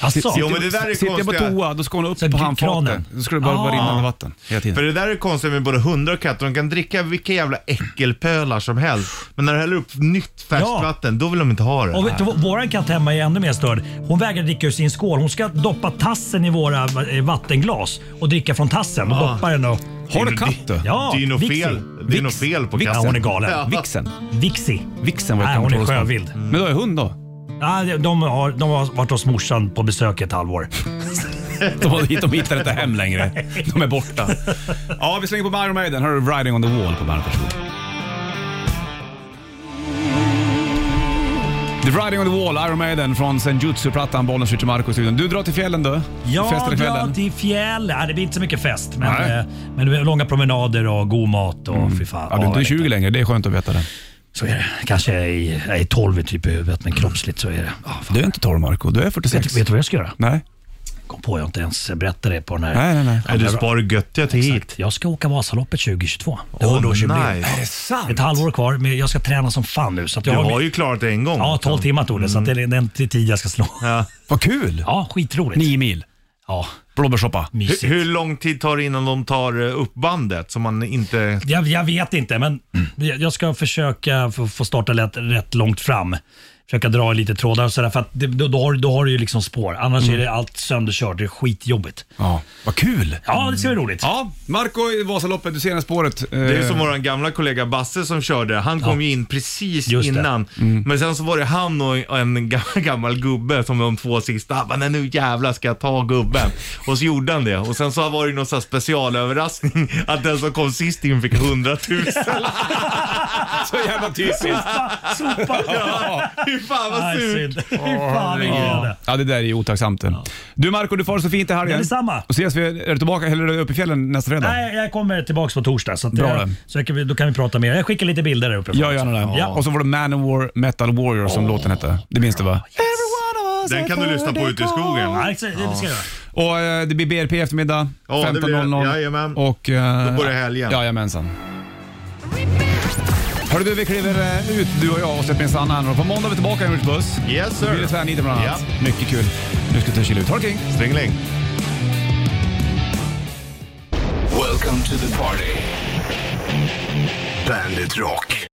H: Alltså,
C: Jo, men det där är
B: Sitter jag på
C: konstiga-
B: toa, då ska hon upp
H: Så
B: på
H: kranen.
B: handfatet. Då ska det bara vara
H: Ah.
B: rinnande vatten hela
C: För
B: tiden.
C: det där är konstigt med både hundar och katter. De kan dricka vilka jävla äckelpölar som helst. Men när du häller upp nytt färskt
H: Ja.
C: vatten, då vill de inte ha det.
H: Och vet du, vad, våran katt hemma är ännu mer störd. Hon vägrar dricka ur sin skål. Hon ska doppa tassen i våra eh, vattenglas och dricka från tassen. Och doppa den och...
B: Ah. Har du katt du?
H: Ja,
C: det är ju något
H: Vixi.
C: fel. Det är något
H: Vix.
C: fel på
H: Vix.
C: katten.
H: Ja, hon är galen.
C: Ja.
B: Vixen.
H: Vixi.
B: Vixen var
H: Nej,
B: ett
H: hon är
B: gammalt trollspö.
H: sjövild.
B: Men då är hund då?
H: Ja, de, har, de har varit hos morsan på besök ett halvår.
B: De, har- de hittar inte hem längre. De är borta. Ja, vi slänger på Iron Maiden. Här har du Riding on the Wall på bandet. Varsågod. The Riding on the Wall, Iron Maiden från Senjutsu-plattan, bollen switch till Marco i studion. Du drar till fjällen du.
H: Ja,
B: Festar i
H: dra
B: kvällen.
H: till fjäll. Ja, det blir inte så mycket fest, men,
B: Nej. Mm.
H: eh, men det blir långa promenader och god mat och fy fan.
B: Ja, du är
H: jag
B: inte
H: vet
B: 20 längre, det är skönt att veta det.
H: Så är det. Kanske jag är, jag är 12 i typ i huvudet, men kroppsligt så är det. Ja, fan.
B: Du är inte 12 Marco, du är
H: Vet,
B: 46.
H: vet du vad jag ska göra?
B: Nej.
H: Kom på, jag har inte ens berättat det på den här.
B: Nej, nej, nej.
C: Nej, du sparar göttiga till hit.
H: Exakt. Jag ska åka Vasaloppet 2022. Det är
C: Åh,
H: 100-årsjubileum.
C: nice. Är det
H: Ett halvår kvar, men jag ska träna som fan nu. Så att jag
C: Du har ju klarat det en gång.
H: Ja, 12 timmar tog det, så att det är den tid jag ska slå.
C: Ja.
B: Vad kul!
H: Ja, skitroligt.
B: Nio mil.
H: Ja,
B: Blåbärssoppa.
C: Hur,
H: mysigt.
C: hur lång tid tar det innan de tar eh, upp bandet? Så man inte...
H: Jag, jag vet inte, men jag jag ska försöka få få starta rätt, rätt långt fram. Försöka dra i lite trådar och sådär, för att det, då, då, har, då har du ju liksom spår. Annars är det allt sönderkört, det är skitjobbigt.
B: Mm. Ja, vad kul!
H: Ja, det ska bli roligt.
B: Ja, Marco i Vasaloppet, du ser spåret. Eh,
C: Det är ju
H: Eh.
C: som vår gamla kollega Basse som körde. Han kom ju in precis
H: Just det. Mm.
C: innan. Men sen så var det han och och en gammal, gammal gubbe som de två sista. Han bara, "Nej, nu jävlar ska jag ta gubben. Och så gjorde han det. Och sen så var det ju någon sån här specialöverraskning att den som kom sist in fick 100 000.
B: Så jävla typiskt.
H: Sopa, sopa!
C: Ja, Fy fan vad
H: Nej,
C: surt.
H: synd. Fy fan, vilken jävla-
B: Ja, det där är ju otacksamt. Du Marco, du får det så fint i
H: Ja,
B: helgen.
H: detsamma.
B: Och ses vi, är du tillbaka, eller är du uppe i fjällen nästa fredag?
H: Nej, jag kommer tillbaka på torsdag, så, att
B: Bra
H: jag,
B: det.
H: så jag, kan- då kan vi prata mer. Jag skickar lite bilder där uppe.
B: Jag gärna det.
H: Ja.
B: Och så var det Manowar Metal Warrior som låten hette. Det minns du va?
C: Den kan du lyssna på ute i skogen.
H: Ja, exakt, det ska jag göra.
B: Och eh, det blir BRP i eftermiddag.
C: Ja, det blir det.
B: 15.00.
C: Jajamän.
B: Och, eh,
C: Då börjar helgen.
B: Jajamensan. Hörru du, vi kliver eh, ut du och jag och släpper in Sanna här. nu. På måndag är vi tillbaka i Rich Buss.
C: Yes
B: Då blir det
C: sir.
B: tvärniten bland annat. Mycket kul. Nu ska vi ta och kila ut. Ha det kring.
C: Stringling.
D: Welcome to the party. Bandit Rock.